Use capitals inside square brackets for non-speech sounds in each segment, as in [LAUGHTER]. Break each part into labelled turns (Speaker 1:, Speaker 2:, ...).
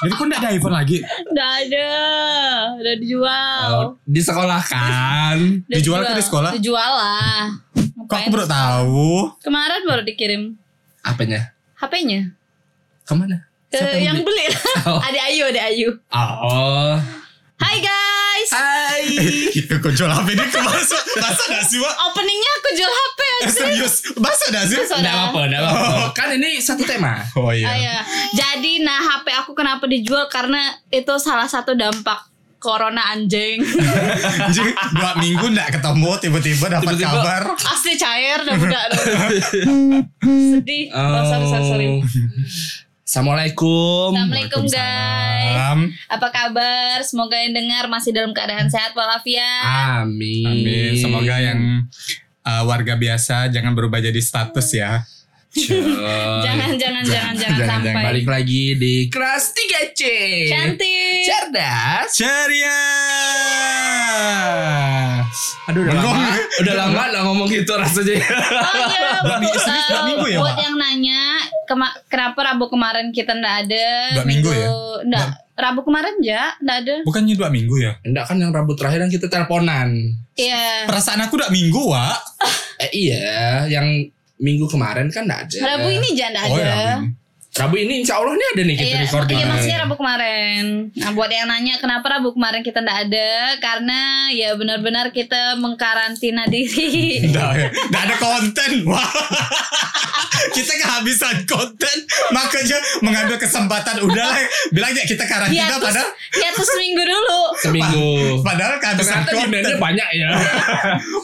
Speaker 1: Jadi kok gak ada iPhone lagi?
Speaker 2: Nggak ada. Udah dijual.
Speaker 3: Oh, di sekolah
Speaker 2: [LAUGHS]
Speaker 3: kan.
Speaker 2: Udah
Speaker 1: dijual tuh di sekolah?
Speaker 2: Dijual lah.
Speaker 1: Kok aku
Speaker 2: Ngapain?
Speaker 1: baru tahu?
Speaker 2: Kemarin baru dikirim
Speaker 3: Apanya?
Speaker 2: HP-nya.
Speaker 3: Kemana?
Speaker 2: Ke
Speaker 3: Siapa yang
Speaker 2: Eh, yang beli. [LAUGHS]
Speaker 3: Oh.
Speaker 2: ada Ayu, ada Ayu.
Speaker 3: Oh.
Speaker 2: Hai guys.
Speaker 3: Hai.
Speaker 1: Iya [LAUGHS] kok jual HP ini ke masa Masa gak sih Wak?
Speaker 2: Openingnya aku jual HP
Speaker 1: Eh,
Speaker 2: aja.
Speaker 1: serius Masa gak sih?
Speaker 2: Masa.
Speaker 3: Enggak apa-apa, enggak apa-apa. Kan ini satu tema.
Speaker 1: Oh iya
Speaker 2: Ah,
Speaker 1: [LAUGHS]
Speaker 2: iya. Jadi nah HP aku kenapa dijual karena itu salah satu dampak corona anjing.
Speaker 1: Anjing dua minggu gak ketemu Tiba-tiba dapat
Speaker 3: Tiba-tiba-
Speaker 1: kabar
Speaker 2: Asli cair dah udah. Sedih. Oh, sorry, sorry, sorry.
Speaker 3: Oh. Assalamualaikum.
Speaker 2: Assalamualaikum guys.
Speaker 1: Salam
Speaker 2: Apa kabar? Semoga yang dengar masih dalam keadaan sehat
Speaker 1: Ah,
Speaker 2: walafiat.
Speaker 3: Amin.
Speaker 1: Amin Semoga yang uh, warga biasa Jangan berubah jadi status ya
Speaker 3: Coy.
Speaker 2: Jangan, jangan, jangan, jangan,
Speaker 1: iya. jangan, jangan.
Speaker 2: sampai.
Speaker 3: balik lagi di kelas 3C.
Speaker 2: Cantik.
Speaker 3: Cerdas.
Speaker 1: Ceria
Speaker 3: Aduh udah
Speaker 1: Bengong.
Speaker 3: lama, [LAUGHS] udah lama lah ngomong gitu rasanya.
Speaker 2: Oh iya,
Speaker 1: Dua minggu-
Speaker 2: buat-
Speaker 1: serius dua minggu ya,
Speaker 2: buat
Speaker 1: Pak?
Speaker 2: yang nanya kema- kenapa Rabu kemarin kita ndak ada?
Speaker 1: Dua minggu ya?
Speaker 2: Ndak. Rabu kemarin ya, ndak ada.
Speaker 1: Bukannya dua minggu ya?
Speaker 3: Enggak kan yang rambut terakhir yang kita teleponan.
Speaker 2: Iya.
Speaker 1: Perasaan aku dua minggu Wak
Speaker 3: Eh, iya, yang minggu kemarin kan enggak ada.
Speaker 2: Rabu ini jangan ndak
Speaker 1: Oh
Speaker 2: ada.
Speaker 1: iya
Speaker 3: Rabu ini insya Allah nih ada nih kita
Speaker 2: Iya,
Speaker 3: recording.
Speaker 2: iya maksudnya Rabu kemarin. Nah, buat yang nanya kenapa Rabu kemarin kita ndak ada, karena ya benar-benar kita mengkarantina diri.
Speaker 1: Nggak, ya. Nggak ada konten. Wah. [LAUGHS] kita kehabisan konten. Makanya mengambil kesempatan udahlah bilang ya kita karantina
Speaker 2: Hiatus,
Speaker 1: padahal
Speaker 2: hiatus seminggu dulu.
Speaker 3: Seminggu.
Speaker 1: padahal kehabisan
Speaker 3: Ternyata
Speaker 1: konten.
Speaker 3: demandnya banyak ya.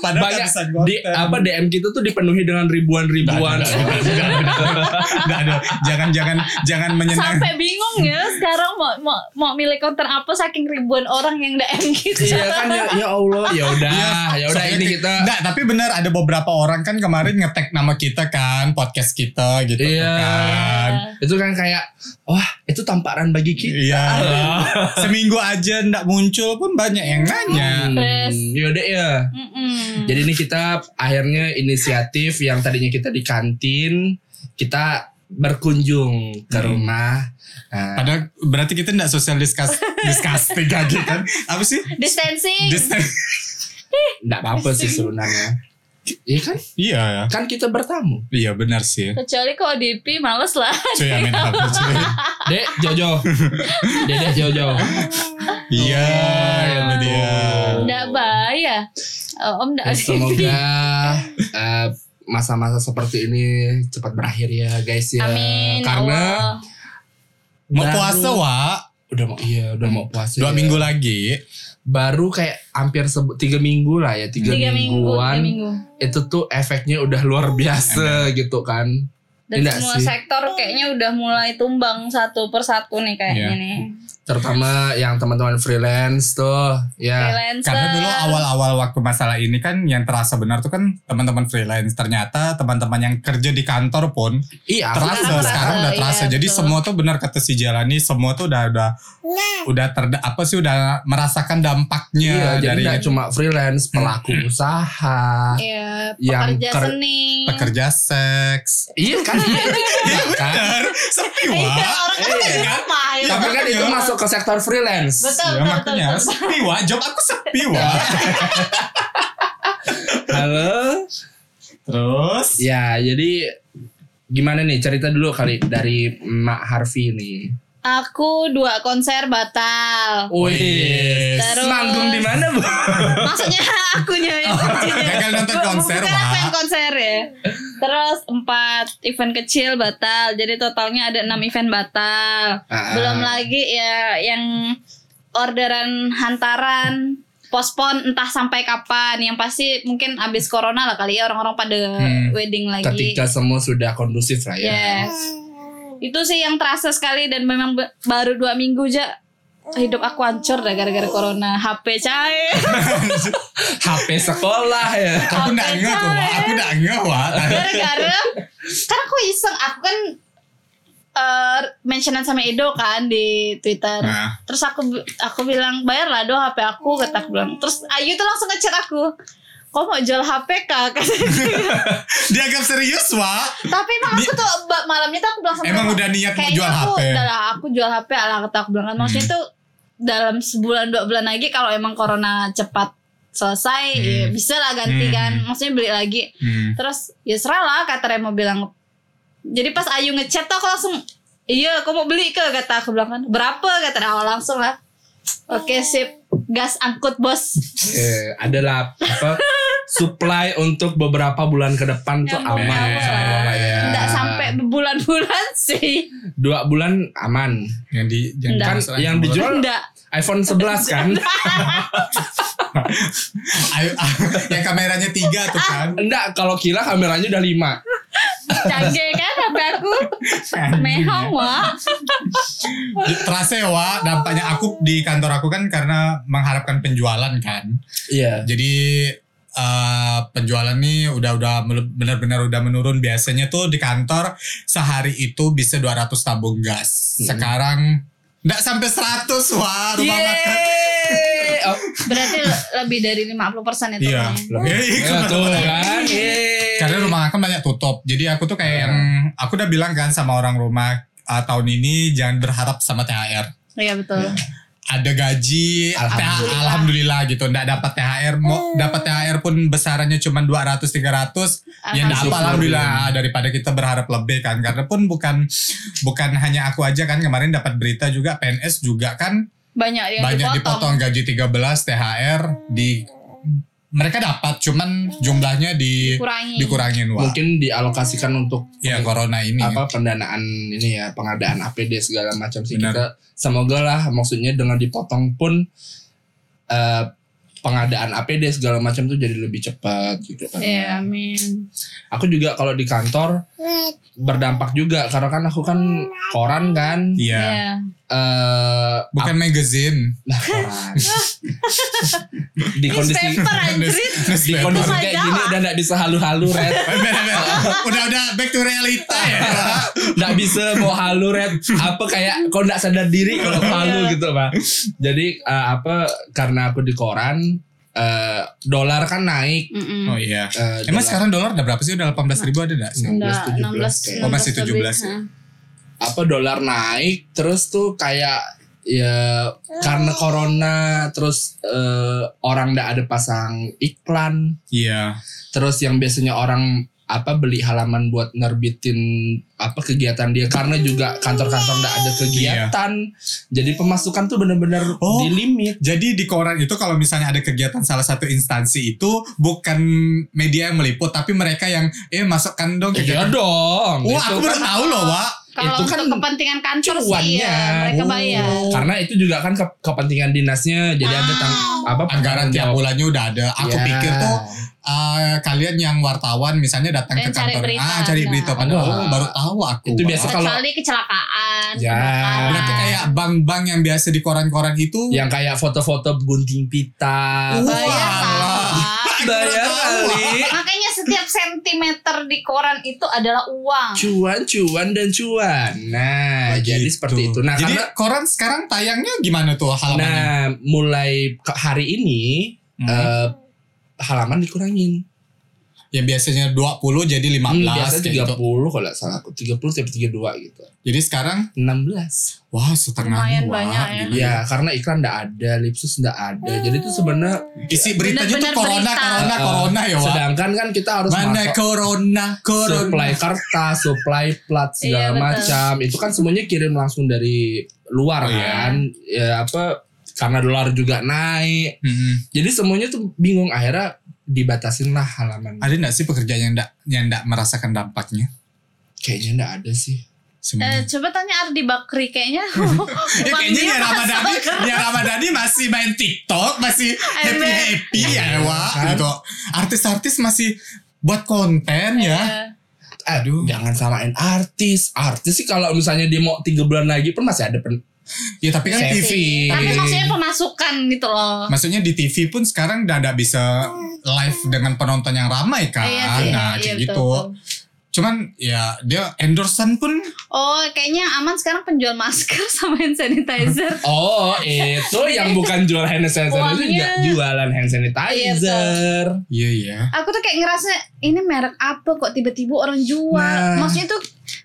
Speaker 1: Padahal
Speaker 3: banyak
Speaker 1: kehabisan
Speaker 3: di
Speaker 1: konten.
Speaker 3: apa DM kita tuh dipenuhi dengan ribuan-ribuan.
Speaker 1: Nggak ada, nggak ada, Nggak ada. Jangan jangan jangan menyenang.
Speaker 2: Sampai bingung ya sekarang mau mau, mau milih konten apa saking ribuan orang yang DM gitu.
Speaker 3: Iya kan ya, ya Allah, ya udah, ya udah
Speaker 1: Soalnya
Speaker 3: ini
Speaker 1: ti-
Speaker 3: kita
Speaker 1: Iya, Nggak, tapi benar ada beberapa orang kan kemarin ngetek nama kita kan, podcast kita gitu tuh
Speaker 3: Iya.
Speaker 1: kan.
Speaker 3: itu kan kayak wah, itu tamparan bagi kita. [LAUGHS]
Speaker 1: Iya. Seminggu aja ndak muncul pun banyak yang nanya.
Speaker 2: Terus.
Speaker 3: Hmm, yaudah ya.
Speaker 2: Mm-mm.
Speaker 3: Jadi ini kita akhirnya inisiatif yang tadinya kita di kantin, kita berkunjung ke
Speaker 1: Hmm.
Speaker 3: rumah. Nah,
Speaker 1: Padahal berarti kita nggak social discuss disgusting lagi kan? Apa sih?
Speaker 2: distancing.
Speaker 1: Distan-
Speaker 3: nggak apa-apa sih sebenarnya. Iya kan?
Speaker 1: [LAUGHS] iya ya.
Speaker 3: Kan kita bertamu.
Speaker 1: Iya benar sih.
Speaker 2: Kecuali kalau DP males lah.
Speaker 1: Cuy amin apa cuy.
Speaker 3: Dek,
Speaker 2: [LAUGHS]
Speaker 3: Jojo. Dedek Jojo.
Speaker 1: Iya,
Speaker 3: iya
Speaker 1: itu dia.
Speaker 3: betul.
Speaker 2: Nggak bahaya. Oh, om nggak
Speaker 3: Dan semoga ya. eh, masa-masa seperti ini cepat berakhir ya guys ya.
Speaker 2: [LAUGHS] Amin. ya
Speaker 3: Karena
Speaker 2: Allah.
Speaker 1: Mau
Speaker 3: Baru-
Speaker 1: puasa Wak
Speaker 3: udah mau iya udah mau puasa. ya.
Speaker 1: Dua minggu lagi.
Speaker 3: Baru kayak hampir sebe- tiga minggu lah ya tiga,
Speaker 2: tiga minggu,
Speaker 3: mingguan.
Speaker 2: tiga minggu.
Speaker 3: Itu tuh efeknya udah luar biasa gitu kan.
Speaker 2: Dan
Speaker 3: Nggak
Speaker 2: semua
Speaker 3: sih.
Speaker 2: sektor kayaknya udah mulai tumbang satu persatu nih kayaknya
Speaker 1: Iya.
Speaker 3: Ya,
Speaker 2: nih.
Speaker 3: Terutama yang teman-teman freelance tuh ya.
Speaker 2: Freelancer.
Speaker 1: Karena dulu awal-awal waktu masalah ini kan yang terasa benar tuh kan teman-teman freelance. Ternyata teman-teman yang kerja di kantor pun
Speaker 3: Iya. aku-
Speaker 1: terasa
Speaker 2: terasa,
Speaker 1: sekarang udah
Speaker 2: iya,
Speaker 1: terasa. Jadi
Speaker 2: betul.
Speaker 1: semua tuh benar kata si Jalani semua tuh udah udah udah terda apa sih udah merasakan
Speaker 3: Iya,
Speaker 1: dampaknya
Speaker 3: Hmm. jadi
Speaker 1: dari
Speaker 3: nggak cuma freelance, pelaku usaha.
Speaker 2: Iya,
Speaker 3: Yang
Speaker 2: pekerja
Speaker 3: ker-
Speaker 2: seni.
Speaker 1: pekerja seks.
Speaker 3: Iya kan? Iya kan?
Speaker 1: Bener, [LAUGHS] sepi
Speaker 2: [LAUGHS] Iya,
Speaker 1: wah.
Speaker 2: orang
Speaker 3: Iya.
Speaker 2: kan
Speaker 3: Iya,
Speaker 2: dari rumah ya.
Speaker 3: Tapi kan itu
Speaker 1: Iya.
Speaker 3: masuk ke sektor freelance.
Speaker 2: Betul,
Speaker 1: Ya
Speaker 2: betul,
Speaker 1: makanya
Speaker 2: betul, betul.
Speaker 1: sepi wah, job aku sepi wah.
Speaker 3: Halo.
Speaker 1: Terus
Speaker 3: Ya, jadi gimana nih cerita dulu kali dari Mak Harvey ini.
Speaker 2: Aku dua konser
Speaker 1: [LAUGHS]
Speaker 2: batal.
Speaker 3: Wih,
Speaker 2: Terus-
Speaker 3: manggung di mana bu?
Speaker 2: Maksudnya akunya
Speaker 1: [LAUGHS]
Speaker 2: yang kuncinya.
Speaker 1: Oh, gagal nonton
Speaker 2: Bu-
Speaker 1: konser,
Speaker 2: Bukan aku
Speaker 1: Wak.
Speaker 2: yang konser ya. Terus empat event kecil batal. Jadi totalnya ada enam event batal.
Speaker 3: Ah.
Speaker 2: Belum lagi ya yang orderan hantaran pospon entah sampai kapan. Yang pasti mungkin abis corona lah kali ya orang-orang pada
Speaker 1: Hmm.
Speaker 2: wedding lagi. gitu.
Speaker 3: Ketika semua sudah kondusif lah ya. [LAUGHS]
Speaker 2: Yes. Itu sih yang terasa sekali dan memang be- baru dua minggu aja hidup aku hancur dah gara-gara corona. HP cair.
Speaker 3: HP sekolah ya.
Speaker 1: aku nggak
Speaker 2: Apa
Speaker 1: ngeh tuh, Wak. aku nggak ngeh wah.
Speaker 2: [LAUGHS] gara-gara kan aku iseng aku kan eh mentionan sama Edo kan di Twitter.
Speaker 1: Nah.
Speaker 2: Terus aku aku bilang bayarlah do HP aku kata aku bilang. Terus Ayu tuh langsung ngechat aku. kok mau jual HP kak [LAUGHS]
Speaker 1: Dianggap serius, Wak.
Speaker 2: tapi emang aku tuh ba- malamnya tuh aku bilang sama
Speaker 1: Emang
Speaker 2: aku,
Speaker 1: udah niat mau
Speaker 2: kayaknya
Speaker 1: jual ya?"
Speaker 2: aku
Speaker 1: HP.
Speaker 2: udah lah aku jual HP ala kata aku bilang kan
Speaker 1: Hmm.
Speaker 2: maksudnya tuh dalam sebulan dua bulan lagi kalau emang corona cepat selesai ya
Speaker 1: Hmm.
Speaker 2: bisa lah ganti
Speaker 1: Hmm.
Speaker 2: kan maksudnya beli lagi
Speaker 1: Hmm.
Speaker 2: terus ya serah lah kata Remo bilang jadi pas Ayu ngechat tuh aku langsung iya aku mau beli ke kata aku bilang kan berapa kata dia. awal langsung lah oke sip gas angkut bos
Speaker 3: eh, adalah apa supply untuk beberapa bulan ke depan tuh
Speaker 2: Yang
Speaker 3: aman
Speaker 2: mengawal.
Speaker 3: sama Bapak ya.
Speaker 2: nggak sampai berbulan-bulan sih
Speaker 3: dua bulan aman.
Speaker 1: Yang di yang
Speaker 2: Nggak.
Speaker 3: Kan
Speaker 1: dimaksud
Speaker 3: yang
Speaker 1: iPhone.
Speaker 3: dijual
Speaker 2: enggak
Speaker 3: iPhone 11 kan?
Speaker 1: [LAUGHS] Ayo, ah, yang kameranya tiga tuh kan.
Speaker 3: Enggak, kalau kira kameranya udah 5.
Speaker 2: canggih kan HP aku mehong wah
Speaker 1: Terasa ya, Wak, dampaknya aku di kantor aku kan karena mengharapkan penjualan kan.
Speaker 3: Iya.
Speaker 1: Jadi eh, penjualan nih udah-udah mele- benar-benar udah menurun. Biasanya tuh di kantor sehari itu bisa 200 tabung gas.
Speaker 3: Hmm.
Speaker 1: Sekarang nggak sampai 100 wah rumah makan.
Speaker 3: Yeay. Oh,
Speaker 2: berarti le- lebih dari 50% itu
Speaker 1: Iya.
Speaker 2: kayaknya.
Speaker 1: Eh,
Speaker 3: ya,
Speaker 1: kebetulan.
Speaker 3: tuh kan. Yeay.
Speaker 1: Karena rumah makan banyak tutup. Jadi aku tuh kayak
Speaker 3: Hmm.
Speaker 1: yang aku udah bilang kan sama orang rumah ah, tahun ini jangan berharap sama THR.
Speaker 2: iya betul
Speaker 1: ada gaji
Speaker 3: Alhamdulillah.
Speaker 1: alhamdulillah, alhamdulillah gitu nggak dapat THR mau dapat THR pun besarannya cuma 200
Speaker 2: Ah,
Speaker 1: 300 ya enggak apa
Speaker 3: Alhamdulillah.
Speaker 1: alhamdulillah daripada kita berharap lebih kan karena pun bukan bukan hanya aku aja kan kemarin dapat berita juga PNS juga kan
Speaker 2: banyak yang
Speaker 1: banyak
Speaker 2: Iya, dipotong,
Speaker 1: dipotong. gaji 13 THR di mereka dapat cuman jumlahnya di
Speaker 2: kurangi
Speaker 1: dikurangin wah
Speaker 3: Mungkin dialokasikan untuk
Speaker 1: ya corona ini
Speaker 3: apa pendanaan ini ya, pengadaan APD segala macam sih
Speaker 1: Benar.
Speaker 3: kita. Semoga lah maksudnya dengan dipotong pun eh, pengadaan APD segala macam tuh jadi lebih cepat gitu kan.
Speaker 2: Iya, amin.
Speaker 3: Aku juga kalau di kantor
Speaker 1: Iya.
Speaker 3: berdampak juga karena kan aku kan koran kan
Speaker 1: iya
Speaker 2: Iya.
Speaker 3: eh
Speaker 1: bukan
Speaker 3: [LAUGHS]
Speaker 1: magazine
Speaker 3: Lah,
Speaker 2: [LAUGHS]
Speaker 3: koran.
Speaker 1: Ya,
Speaker 3: di kondisi
Speaker 2: Newspaper
Speaker 1: [LAUGHS]
Speaker 2: anjrit.
Speaker 3: di kondisi
Speaker 2: Bahasa
Speaker 3: kayak gini
Speaker 2: Jawa.
Speaker 3: udah nggak bisa halu-halu red
Speaker 1: udah udah back to realita
Speaker 3: [LAUGHS]
Speaker 1: ya
Speaker 3: nggak bisa mau halu red apa kayak kau nggak sadar diri kalau
Speaker 1: Iya.
Speaker 3: halu gitu pak jadi eh, apa karena aku di koran eh dolar kan naik
Speaker 2: Mm-mm.
Speaker 1: oh iya
Speaker 3: Eh,
Speaker 1: Emang
Speaker 3: dolar-
Speaker 1: sekarang dolar udah berapa sih? Udah 18 ribu ada gak sih?
Speaker 2: Enggak,
Speaker 3: 16, 17,
Speaker 2: 16,
Speaker 1: Oh, masih
Speaker 2: 16 lebih.
Speaker 1: 17 ya?
Speaker 2: Hah.
Speaker 3: apa dolar naik terus tuh kayak ya karena corona terus eh, orang nggak ada pasang iklan
Speaker 1: Iya.
Speaker 3: terus yang biasanya orang apa beli halaman buat nerbitin apa kegiatan dia karena juga kantor-kantor nggak
Speaker 1: Iya.
Speaker 3: ada kegiatan jadi pemasukan tuh bener-bener
Speaker 1: Oh.
Speaker 3: di limit
Speaker 1: Jadi di koran itu kalau misalnya ada kegiatan salah satu instansi itu bukan media yang meliput tapi mereka yang eh masukkan dong
Speaker 3: iya
Speaker 1: kegiatan.
Speaker 3: dong
Speaker 1: Wah,
Speaker 3: itu
Speaker 1: aku
Speaker 3: kan
Speaker 1: baru tahu loh, Wak.
Speaker 2: Kalau
Speaker 3: Itu
Speaker 2: untuk
Speaker 3: kan
Speaker 2: kepentingan kantor sih
Speaker 3: cuannya.
Speaker 2: ya, mereka
Speaker 1: Oh.
Speaker 2: bayar.
Speaker 3: karena itu juga kan ke- kepentingan dinasnya jadi ada tang apa
Speaker 1: Anggaran tiap
Speaker 3: jawab.
Speaker 1: bulannya udah ada. Aku
Speaker 3: Ya.
Speaker 1: pikir tuh eh, kalian yang wartawan misalnya datang
Speaker 2: Dan
Speaker 1: ke
Speaker 2: cari
Speaker 1: kantor
Speaker 2: berita,
Speaker 1: ah cari
Speaker 2: enggak.
Speaker 1: berita padahal
Speaker 3: Enggak.
Speaker 1: oh, baru tahu aku.
Speaker 3: Itu
Speaker 1: Wak.
Speaker 3: biasa kalau-
Speaker 2: Kecuali kecelakaan,
Speaker 3: Ya.
Speaker 2: kebakaran.
Speaker 1: berarti kayak bank-bank yang biasa di koran-koran itu
Speaker 3: yang kayak foto-foto gunting pita
Speaker 1: Uh.
Speaker 2: bayar
Speaker 1: Wah.
Speaker 2: salah.
Speaker 3: bayar
Speaker 1: Wah.
Speaker 3: kali
Speaker 2: Makanya setiap sentimeter di koran itu adalah uang.
Speaker 3: cuan cuan dan cuan nah
Speaker 1: Oh,
Speaker 3: jadi
Speaker 1: gitu.
Speaker 3: seperti itu nah
Speaker 1: jadi
Speaker 3: karena
Speaker 1: koran sekarang tayangnya gimana tuh halamannya?
Speaker 3: Nah, mulai ke- hari ini
Speaker 1: Hmm.
Speaker 3: eh, halaman dikurangin.
Speaker 1: yang Ya, biasanya 20 jadi 15
Speaker 3: Hmm, biasa
Speaker 1: kayak gitu.
Speaker 3: 30 kalau nggak salah aku 30 sampai 32 gitu.
Speaker 1: Jadi sekarang
Speaker 3: 16.
Speaker 1: Wah setengah
Speaker 2: Lumayan
Speaker 1: wah,
Speaker 2: banyak ya.
Speaker 1: gila.
Speaker 3: Ya, karena iklan nggak ada, lipsus nggak ada. Jadi itu sebenarnya
Speaker 1: Isi beritanya tuh
Speaker 2: Bener-bener
Speaker 1: corona,
Speaker 2: berita.
Speaker 1: corona,
Speaker 3: Eh, eh,
Speaker 1: corona ya Wak.
Speaker 3: sedangkan kan kita harus
Speaker 1: Mana
Speaker 3: masuk
Speaker 1: corona, corona.
Speaker 3: supply kertas, supply plat
Speaker 2: Iya,
Speaker 3: segala
Speaker 2: betul.
Speaker 3: macam. Itu kan semuanya kirim langsung dari luar
Speaker 1: Oh, iya.
Speaker 3: kan. Ya apa karena dolar juga naik.
Speaker 1: Mm-mm.
Speaker 3: Jadi semuanya tuh bingung akhirnya dibatasin lah halaman.
Speaker 1: Ada gak sih pekerjaan yang gak, yang nggak merasakan dampaknya?
Speaker 3: Kayaknya nggak ada sih.
Speaker 2: Eh,
Speaker 1: [LAUGHS] Semuanya.
Speaker 2: coba tanya Ardi Bakri kayaknya.
Speaker 1: Eh,
Speaker 2: uang
Speaker 1: kayaknya
Speaker 2: dia
Speaker 1: Nia
Speaker 2: masuk
Speaker 1: Ramadhani,
Speaker 2: ke-
Speaker 1: Nia Ramadhani masih main TikTok,
Speaker 2: Eh,
Speaker 1: masih happy happy ya, Wak.
Speaker 3: Kan?
Speaker 1: Gitu. Artis-artis masih buat konten
Speaker 2: Eh,
Speaker 1: ya. Aduh,
Speaker 3: jangan samain artis. Artis sih kalau misalnya dia mau tiga bulan lagi pun masih ada pen
Speaker 1: ya tapi kan
Speaker 3: Safety.
Speaker 1: TV.
Speaker 2: Tapi maksudnya pemasukan gitu loh.
Speaker 1: Maksudnya di TV pun sekarang udah nggak bisa live dengan penonton yang ramai kan.
Speaker 2: Eh, iya sih,
Speaker 1: nah,
Speaker 2: iya,
Speaker 1: kayak
Speaker 2: betul,
Speaker 1: gitu.
Speaker 2: betul.
Speaker 1: Cuman ya dia endorsean pun
Speaker 2: Oh, kayaknya yang aman sekarang penjual masker [LAUGHS] sama hand sanitizer.
Speaker 3: Oh itu yang bukan jual hand sanitizer itu
Speaker 2: Uangnya.
Speaker 3: juga jualan hand
Speaker 2: Iya, betul.
Speaker 3: sanitizer.
Speaker 1: iya iya.
Speaker 2: Aku tuh kayak ngerasa ini merek apa kok tiba-tiba orang jual.
Speaker 3: Nah.
Speaker 2: Maksudnya tuh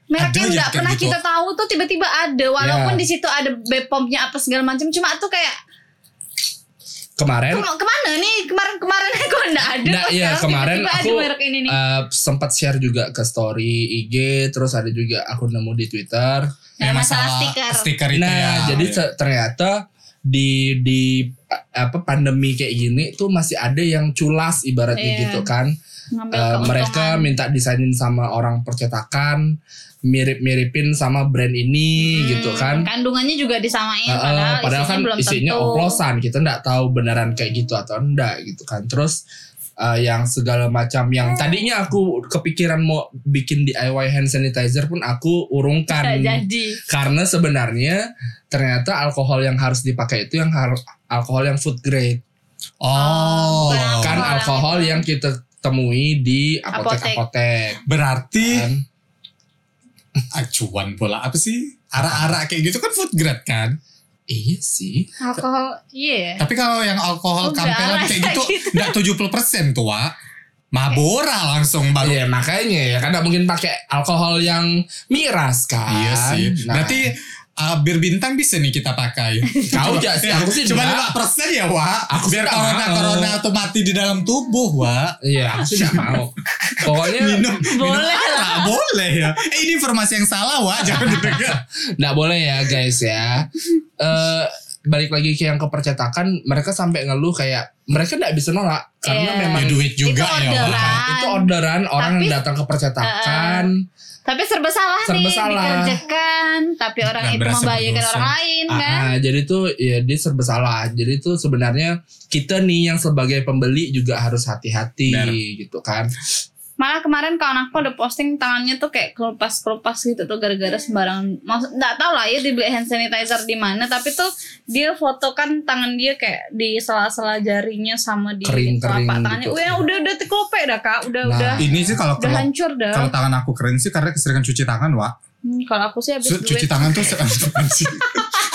Speaker 2: merek
Speaker 1: Ada
Speaker 2: yang
Speaker 1: aja
Speaker 2: nggak
Speaker 1: kayak
Speaker 2: pernah
Speaker 1: gitu.
Speaker 2: kita tahu tuh tiba-tiba ada. Walaupun
Speaker 3: Ya.
Speaker 2: di situ ada Bepomnya apa segala macam, cuma tuh kayak
Speaker 3: Kemarin
Speaker 2: "Kem- kemana nih kemarin-kemarin kok nggak ada.
Speaker 3: Nah,
Speaker 2: kok
Speaker 3: Kan iya,
Speaker 2: sekarang
Speaker 3: kemarin
Speaker 2: tiba-tiba ada
Speaker 3: aku,
Speaker 2: merek ini nih. Nah,
Speaker 3: eh, sempat share juga ke story IG, terus ada juga aku nemu di Twitter.
Speaker 2: Nah,
Speaker 1: Ya,
Speaker 2: masalah stiker.
Speaker 1: itu
Speaker 3: nah,
Speaker 1: ya.
Speaker 3: jadi se- ternyata di di a- apa pandemi kayak gini tuh masih ada yang culas ibaratnya
Speaker 2: Iya.
Speaker 3: gitu kan. Eh,
Speaker 2: Ngambil keuntungan.
Speaker 3: mereka minta desainin sama orang percetakan, mirip-miripin sama brand ini
Speaker 2: Hmm,
Speaker 3: gitu kan.
Speaker 2: Kandungannya juga disamain
Speaker 3: Heeh,
Speaker 2: padahal,
Speaker 3: padahal
Speaker 2: isinya
Speaker 3: kan
Speaker 2: belum
Speaker 3: isinya
Speaker 2: tentu.
Speaker 3: oplosan kita nggak tahu beneran kayak gitu atau enggak gitu kan terus eh, yang segala macam yang tadinya aku kepikiran mau bikin DIY hand sanitizer pun aku
Speaker 2: Nggak
Speaker 3: urungkan
Speaker 2: jadi.
Speaker 3: karena sebenarnya ternyata alkohol yang harus dipakai itu yang har- alkohol yang food grade
Speaker 1: Oh.
Speaker 2: Bukan
Speaker 3: kan
Speaker 2: Alkohol yang
Speaker 3: alkohol
Speaker 2: itu.
Speaker 3: yang kita temui di
Speaker 2: Apotek.
Speaker 3: apotek-apotek
Speaker 1: Berarti
Speaker 3: kan.
Speaker 1: acuan pola apa sih? Arah-arah kayak gitu kan food grade kan.
Speaker 3: iya sih
Speaker 2: Alkohol, iya.
Speaker 1: Tapi kalau yang alkohol
Speaker 2: Udah,
Speaker 1: kampelan kayak
Speaker 2: kayak
Speaker 1: gitu
Speaker 2: gitu.
Speaker 1: enggak 70% tuh, Wak. Mabora langsung baru.
Speaker 3: Iya makanya ya kan nggak mungkin pakai alkohol yang miras kan
Speaker 1: Iya sih.
Speaker 3: Nah.
Speaker 1: Berarti uh, bir bintang bisa nih kita pakai.
Speaker 3: Kau aja sih, aku sih
Speaker 1: Cuma
Speaker 3: enggak.
Speaker 1: 5 persen ya, Wak.
Speaker 3: Aku sih
Speaker 1: Biar
Speaker 3: enggak mau.
Speaker 1: corona-corona tuh mati di dalam tubuh, Wak.
Speaker 3: Iya, aku sih
Speaker 1: [LAUGHS]
Speaker 3: gak mau. Pokoknya
Speaker 1: Minum, minum
Speaker 2: Boleh [LAUGHS]
Speaker 1: arak, boleh ya. Eh, ini informasi yang salah, Wak.
Speaker 3: [LAUGHS]
Speaker 1: Jangan didengar.
Speaker 3: gak boleh ya guys ya. Eh balik lagi ke yang kepercetakan, mereka sampai ngeluh kayak mereka gak bisa nolak karena
Speaker 2: Iya.
Speaker 3: memang
Speaker 1: Ya duit juga
Speaker 2: Itu
Speaker 1: ya, Wak.
Speaker 2: orderan.
Speaker 3: itu orderan orang
Speaker 2: Tapi- Eh,
Speaker 3: yang datang ke percetakan.
Speaker 2: Tapi serba salah
Speaker 3: Serba
Speaker 2: nih
Speaker 3: salah.
Speaker 2: dikerjakan, tapi orang
Speaker 1: Dan
Speaker 2: itu
Speaker 1: berasa
Speaker 2: membahayakan
Speaker 1: berdosa.
Speaker 2: orang lain kan.
Speaker 3: Ah, ah, jadi tuh ya dia serba salah. Jadi tuh sebenarnya kita nih yang sebagai pembeli juga harus hati-hati
Speaker 1: Benar.
Speaker 3: gitu kan.
Speaker 2: Malah kemarin kawan aku udah posting tangannya tuh kayak kelupas-kelupas gitu tuh gara-gara sembarangan. Maksud nggak tahu lah ya dibeli hand sanitizer di mana, tapi tuh dia foto kan tangan dia kayak di sela-sela jarinya sama di
Speaker 3: Kering-kering
Speaker 2: telapak tangannya.
Speaker 3: gitu.
Speaker 2: Wah, udah udah tekope dah Kak, udah
Speaker 3: Nah,
Speaker 2: udah
Speaker 1: Ini sih kalau
Speaker 2: udah
Speaker 1: kalau
Speaker 2: hancur dah.
Speaker 1: kalau tangan aku keren sih karena keseringan cuci tangan, Wak.
Speaker 2: Hmm, kalau aku sih habis
Speaker 1: Su-
Speaker 2: duit.
Speaker 1: cuci tangan tuh se- [LAUGHS] anjing.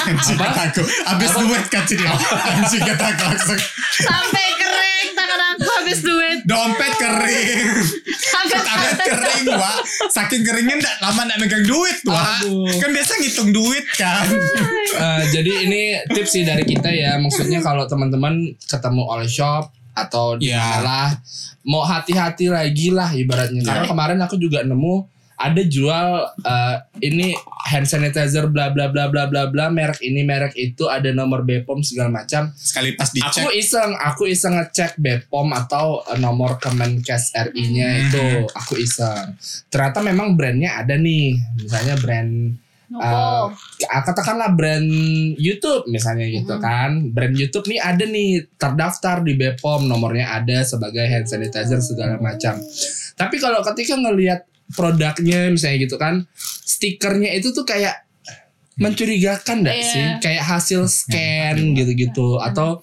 Speaker 1: Anjing
Speaker 3: Apa?
Speaker 1: kata aku. Abis duet kaci dia. kan, Anjing kata aku langsung.
Speaker 2: sampai kering tangan aku habis duit.
Speaker 1: Dompet kering.
Speaker 2: Sampai
Speaker 1: Tangan kering, Wak. Saking keringnya ndak lama ndak megang duit, Wak.
Speaker 3: Aduh.
Speaker 1: Kan biasa ngitung duit
Speaker 2: [LAUGHS]
Speaker 1: kan.
Speaker 3: Eh, jadi ini tips sih dari kita ya. Maksudnya kalau teman-teman ketemu all shop atau di
Speaker 1: Iya.
Speaker 3: mana lah, mau hati-hati lagi lah ibaratnya. Karena kemarin aku juga nemu ada jual eh, ini hand sanitizer bla bla bla bla bla bla merek ini merek itu ada nomor Bepom segala macam.
Speaker 1: Sekali pas
Speaker 3: Aku
Speaker 1: dicek.
Speaker 3: iseng, aku iseng ngecek Bepom atau eh, nomor Kemenkes RI-nya itu aku iseng. Ternyata memang brandnya ada nih, misalnya brand
Speaker 2: Oh.
Speaker 3: Ah, katakanlah brand YouTube misalnya gitu
Speaker 2: Hmm.
Speaker 3: kan brand YouTube nih ada nih terdaftar di Bepom nomornya ada sebagai hand sanitizer segala macam tapi kalau ketika ngelihat produknya misalnya gitu kan stikernya itu tuh kayak mencurigakan gak
Speaker 2: Iya.
Speaker 3: sih kayak hasil scan gitu-gitu atau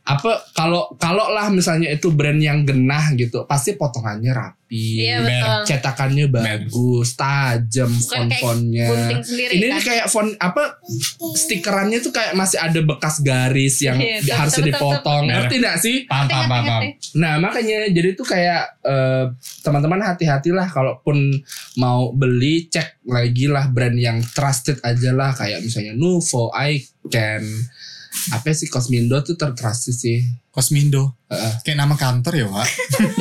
Speaker 3: apa kalau kalau lah misalnya itu brand yang genah gitu pasti potongannya rapi
Speaker 2: Iya
Speaker 1: Mer-
Speaker 2: betul.
Speaker 3: cetakannya
Speaker 1: Mer.
Speaker 3: bagus tajam
Speaker 2: Bukan kayak
Speaker 1: Iya.
Speaker 3: font-fontnya
Speaker 2: gunting sendiri
Speaker 3: ini
Speaker 2: kan.
Speaker 3: nih kayak font apa stikerannya tuh kayak masih ada bekas garis yang
Speaker 2: Iya, betul,
Speaker 3: harus
Speaker 2: betul,
Speaker 3: dipotong
Speaker 1: betul.
Speaker 3: ngerti nggak sih
Speaker 1: Paham, paham, paham, paham.
Speaker 3: nah makanya jadi tuh kayak eh, teman-teman hati-hatilah kalaupun mau beli cek lagi lah brand yang trusted aja lah kayak misalnya Nuvo Icon apa sih Cosmindo tuh tertrusted sih
Speaker 1: Kosmindo.
Speaker 3: Heeh.
Speaker 1: Kayak nama kantor ya, Wak.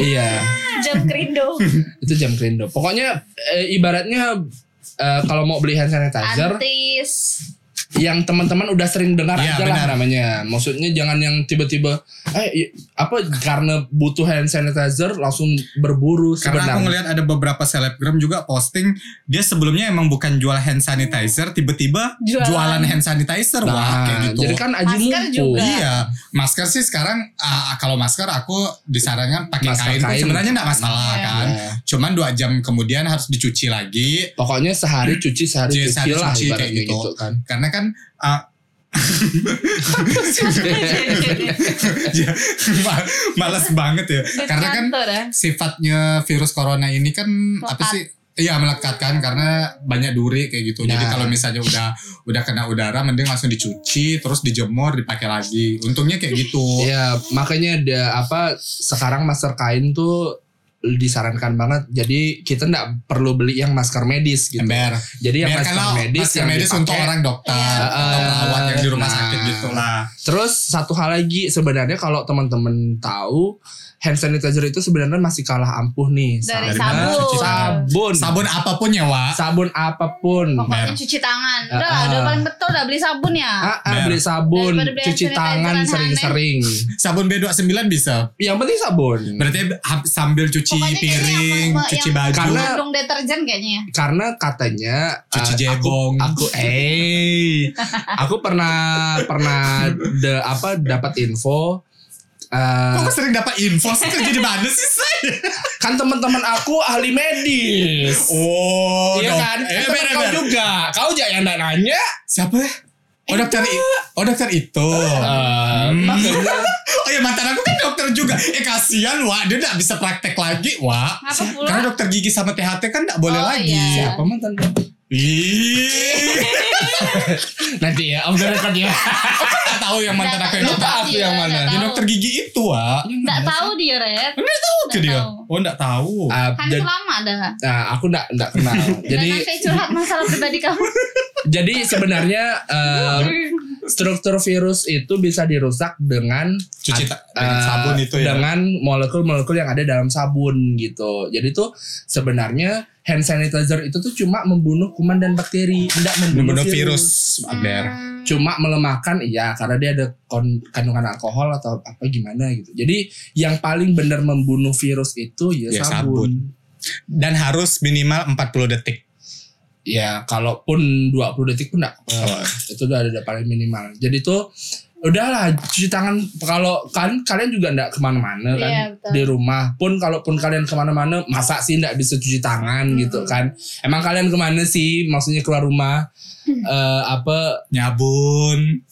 Speaker 3: iya
Speaker 2: Jam kerindo.
Speaker 3: itu jam kerindo pokoknya eh, ibaratnya eh, kalau mau beli hand sanitizer
Speaker 2: Antis.
Speaker 3: yang teman-teman udah sering dengar
Speaker 1: Iya,
Speaker 3: aja lah
Speaker 1: benar.
Speaker 3: namanya. Maksudnya jangan yang tiba-tiba eh i- apa karena butuh hand sanitizer langsung berburu
Speaker 1: Karena
Speaker 3: sebenarnya.
Speaker 1: aku ngelihat ada beberapa selebgram juga posting dia sebelumnya emang bukan jual hand sanitizer, tiba-tiba
Speaker 2: Jualan.
Speaker 1: jualan, hand sanitizer wah
Speaker 3: Nah,
Speaker 1: kayak gitu.
Speaker 3: jadi kan aji
Speaker 2: Masker
Speaker 3: mumpung.
Speaker 2: juga.
Speaker 1: Iya, masker sih sekarang ah, kalau masker aku disarankan pakai
Speaker 3: Masker
Speaker 1: kain, pun
Speaker 3: kain.
Speaker 1: sebenarnya nggak masalah
Speaker 2: Iya.
Speaker 1: kan.
Speaker 3: Iya.
Speaker 1: Cuman dua jam kemudian harus dicuci lagi
Speaker 3: Pokoknya sehari cuci sehari
Speaker 1: Jadi
Speaker 3: cuci,
Speaker 1: sehari
Speaker 3: lah
Speaker 1: Hmm. cuci
Speaker 3: ibaratnya
Speaker 1: kayak gitu.
Speaker 3: gitu kan.
Speaker 1: karena kan [LAUGHS] ah, ya, ma- males banget ya. [LAUGHS] Karena kan
Speaker 2: Kantor ya.
Speaker 1: sifatnya virus corona ini kan apa
Speaker 2: Melekat.
Speaker 1: sih Iya melekatkan karena banyak duri kayak gitu. Jadi
Speaker 4: Nah.
Speaker 1: kalau misalnya udah udah kena udara, mending langsung dicuci, terus dijemur, dipakai lagi. Untungnya kayak gitu.
Speaker 3: Iya,
Speaker 4: Ya makanya ada apa sekarang masker kain tuh disarankan banget. Jadi kita nggak perlu beli yang masker medis gitu.
Speaker 1: Ember.
Speaker 4: Jadi yang masker
Speaker 1: Biarkanlah
Speaker 4: medis
Speaker 1: masker
Speaker 4: yang
Speaker 1: medis
Speaker 4: dipakai.
Speaker 1: untuk orang dokter,
Speaker 2: Iya.
Speaker 1: atau perawat yang di rumah
Speaker 4: Nah.
Speaker 1: sakit gitu lah.
Speaker 4: Terus satu hal lagi sebenarnya kalau teman-teman tahu hand sanitizer itu sebenarnya masih kalah ampuh nih
Speaker 2: dari
Speaker 1: Dari
Speaker 4: sama
Speaker 1: mana?
Speaker 2: sabun Oh.
Speaker 1: Cuci tangan.
Speaker 4: sabun
Speaker 1: Sabun apapun ya, Wak.
Speaker 4: sabun apapun.
Speaker 2: pokoknya
Speaker 1: Mer.
Speaker 2: cuci tangan
Speaker 4: Ah,
Speaker 2: udah lah, udah
Speaker 4: ah.
Speaker 2: paling betul udah beli sabun ya
Speaker 4: Ah, ah, beli sabun,
Speaker 2: Daripada beli hand
Speaker 4: cuci tangan
Speaker 2: sanitizer
Speaker 4: sering-sering.
Speaker 1: Sabun B29 bisa.
Speaker 4: Yang penting sabun.
Speaker 1: Berarti ha- sambil cuci
Speaker 2: Pokoknya kayaknya
Speaker 1: piring,
Speaker 2: yang- yang-
Speaker 1: cuci baju,
Speaker 4: Karena-
Speaker 2: mengandung deterjen kayaknya ya
Speaker 4: Karena katanya
Speaker 1: cuci
Speaker 4: ah,
Speaker 1: jebong.
Speaker 4: aku eh aku pernah pernah de, apa dapat info eh,
Speaker 1: Kok sering dapat info sih kerja di mana sih saya?
Speaker 4: kan teman-teman aku ahli medis
Speaker 1: Oh,
Speaker 4: iya
Speaker 1: dok-
Speaker 4: kan
Speaker 1: Eh,
Speaker 4: Teman
Speaker 1: ber,
Speaker 4: kau
Speaker 1: ber.
Speaker 4: juga kau aja yang nggak
Speaker 1: [LAUGHS]
Speaker 4: nanya
Speaker 1: Siapa ya? Oh dokter, i- oh dokter itu.
Speaker 2: Ah,
Speaker 4: Eh,
Speaker 1: Hmm.
Speaker 4: makanya
Speaker 1: Oh ya mantan aku kan dokter juga. Eh kasihan Wak, dia gak bisa praktek lagi Wak.
Speaker 2: Apa pula?
Speaker 1: Karena dokter gigi sama THT kan gak boleh
Speaker 2: Oh,
Speaker 1: lagi.
Speaker 2: iya.
Speaker 4: siapa mantan kau?
Speaker 1: Ih,
Speaker 4: nanti ya om record ya
Speaker 1: gak tahu yang mantan aku yang
Speaker 2: Nggak
Speaker 1: dokter.
Speaker 2: tahu
Speaker 4: aku
Speaker 2: dia,
Speaker 4: yang mana.
Speaker 2: nggak
Speaker 1: Yang
Speaker 2: tahu.
Speaker 1: dokter gigi itu Wak.
Speaker 2: nggak tahu dia Red
Speaker 1: Enggak tahu ke
Speaker 2: Nggak
Speaker 1: dia.
Speaker 2: tahu.
Speaker 1: Oh gak tahu.
Speaker 4: [LAUGHS] Ah,
Speaker 2: kan
Speaker 4: jadi-
Speaker 2: itu lama dah
Speaker 4: nah, aku nggak nggak kenal jadi
Speaker 2: dan nanti curhat masalah pribadi
Speaker 4: [LAUGHS]
Speaker 2: kamu
Speaker 4: jadi sebenarnya eh, struktur virus itu bisa dirusak dengan
Speaker 1: Cuci ta- dengan
Speaker 4: eh,
Speaker 1: sabun itu ya.
Speaker 4: dengan molekul-molekul yang ada dalam sabun gitu. Jadi tuh sebenarnya hand sanitizer itu tuh cuma membunuh kuman dan bakteri, tidak membunuh,
Speaker 1: Membunuh
Speaker 4: virus.
Speaker 1: virus. Aber.
Speaker 2: Hmm.
Speaker 4: Cuma melemahkan iya karena dia ada kon- kandungan alkohol atau apa gimana gitu. Jadi yang paling benar membunuh virus itu ya,
Speaker 1: Ya, sabun.
Speaker 4: sabun.
Speaker 1: Dan harus minimal 40 detik.
Speaker 4: Ya kalaupun 20 detik pun enggak itu udah ada paling minimal jadi tuh udahlah cuci tangan kalau kan kalian juga ndak kemana-mana kan
Speaker 2: Iya, betul.
Speaker 4: di rumah pun kalaupun kalian kemana-mana masa sih ndak bisa cuci tangan
Speaker 2: Hmm.
Speaker 4: gitu kan emang kalian kemana sih maksudnya
Speaker 2: [LAUGHS]
Speaker 4: keluar rumah eh, apa
Speaker 1: Nyabun.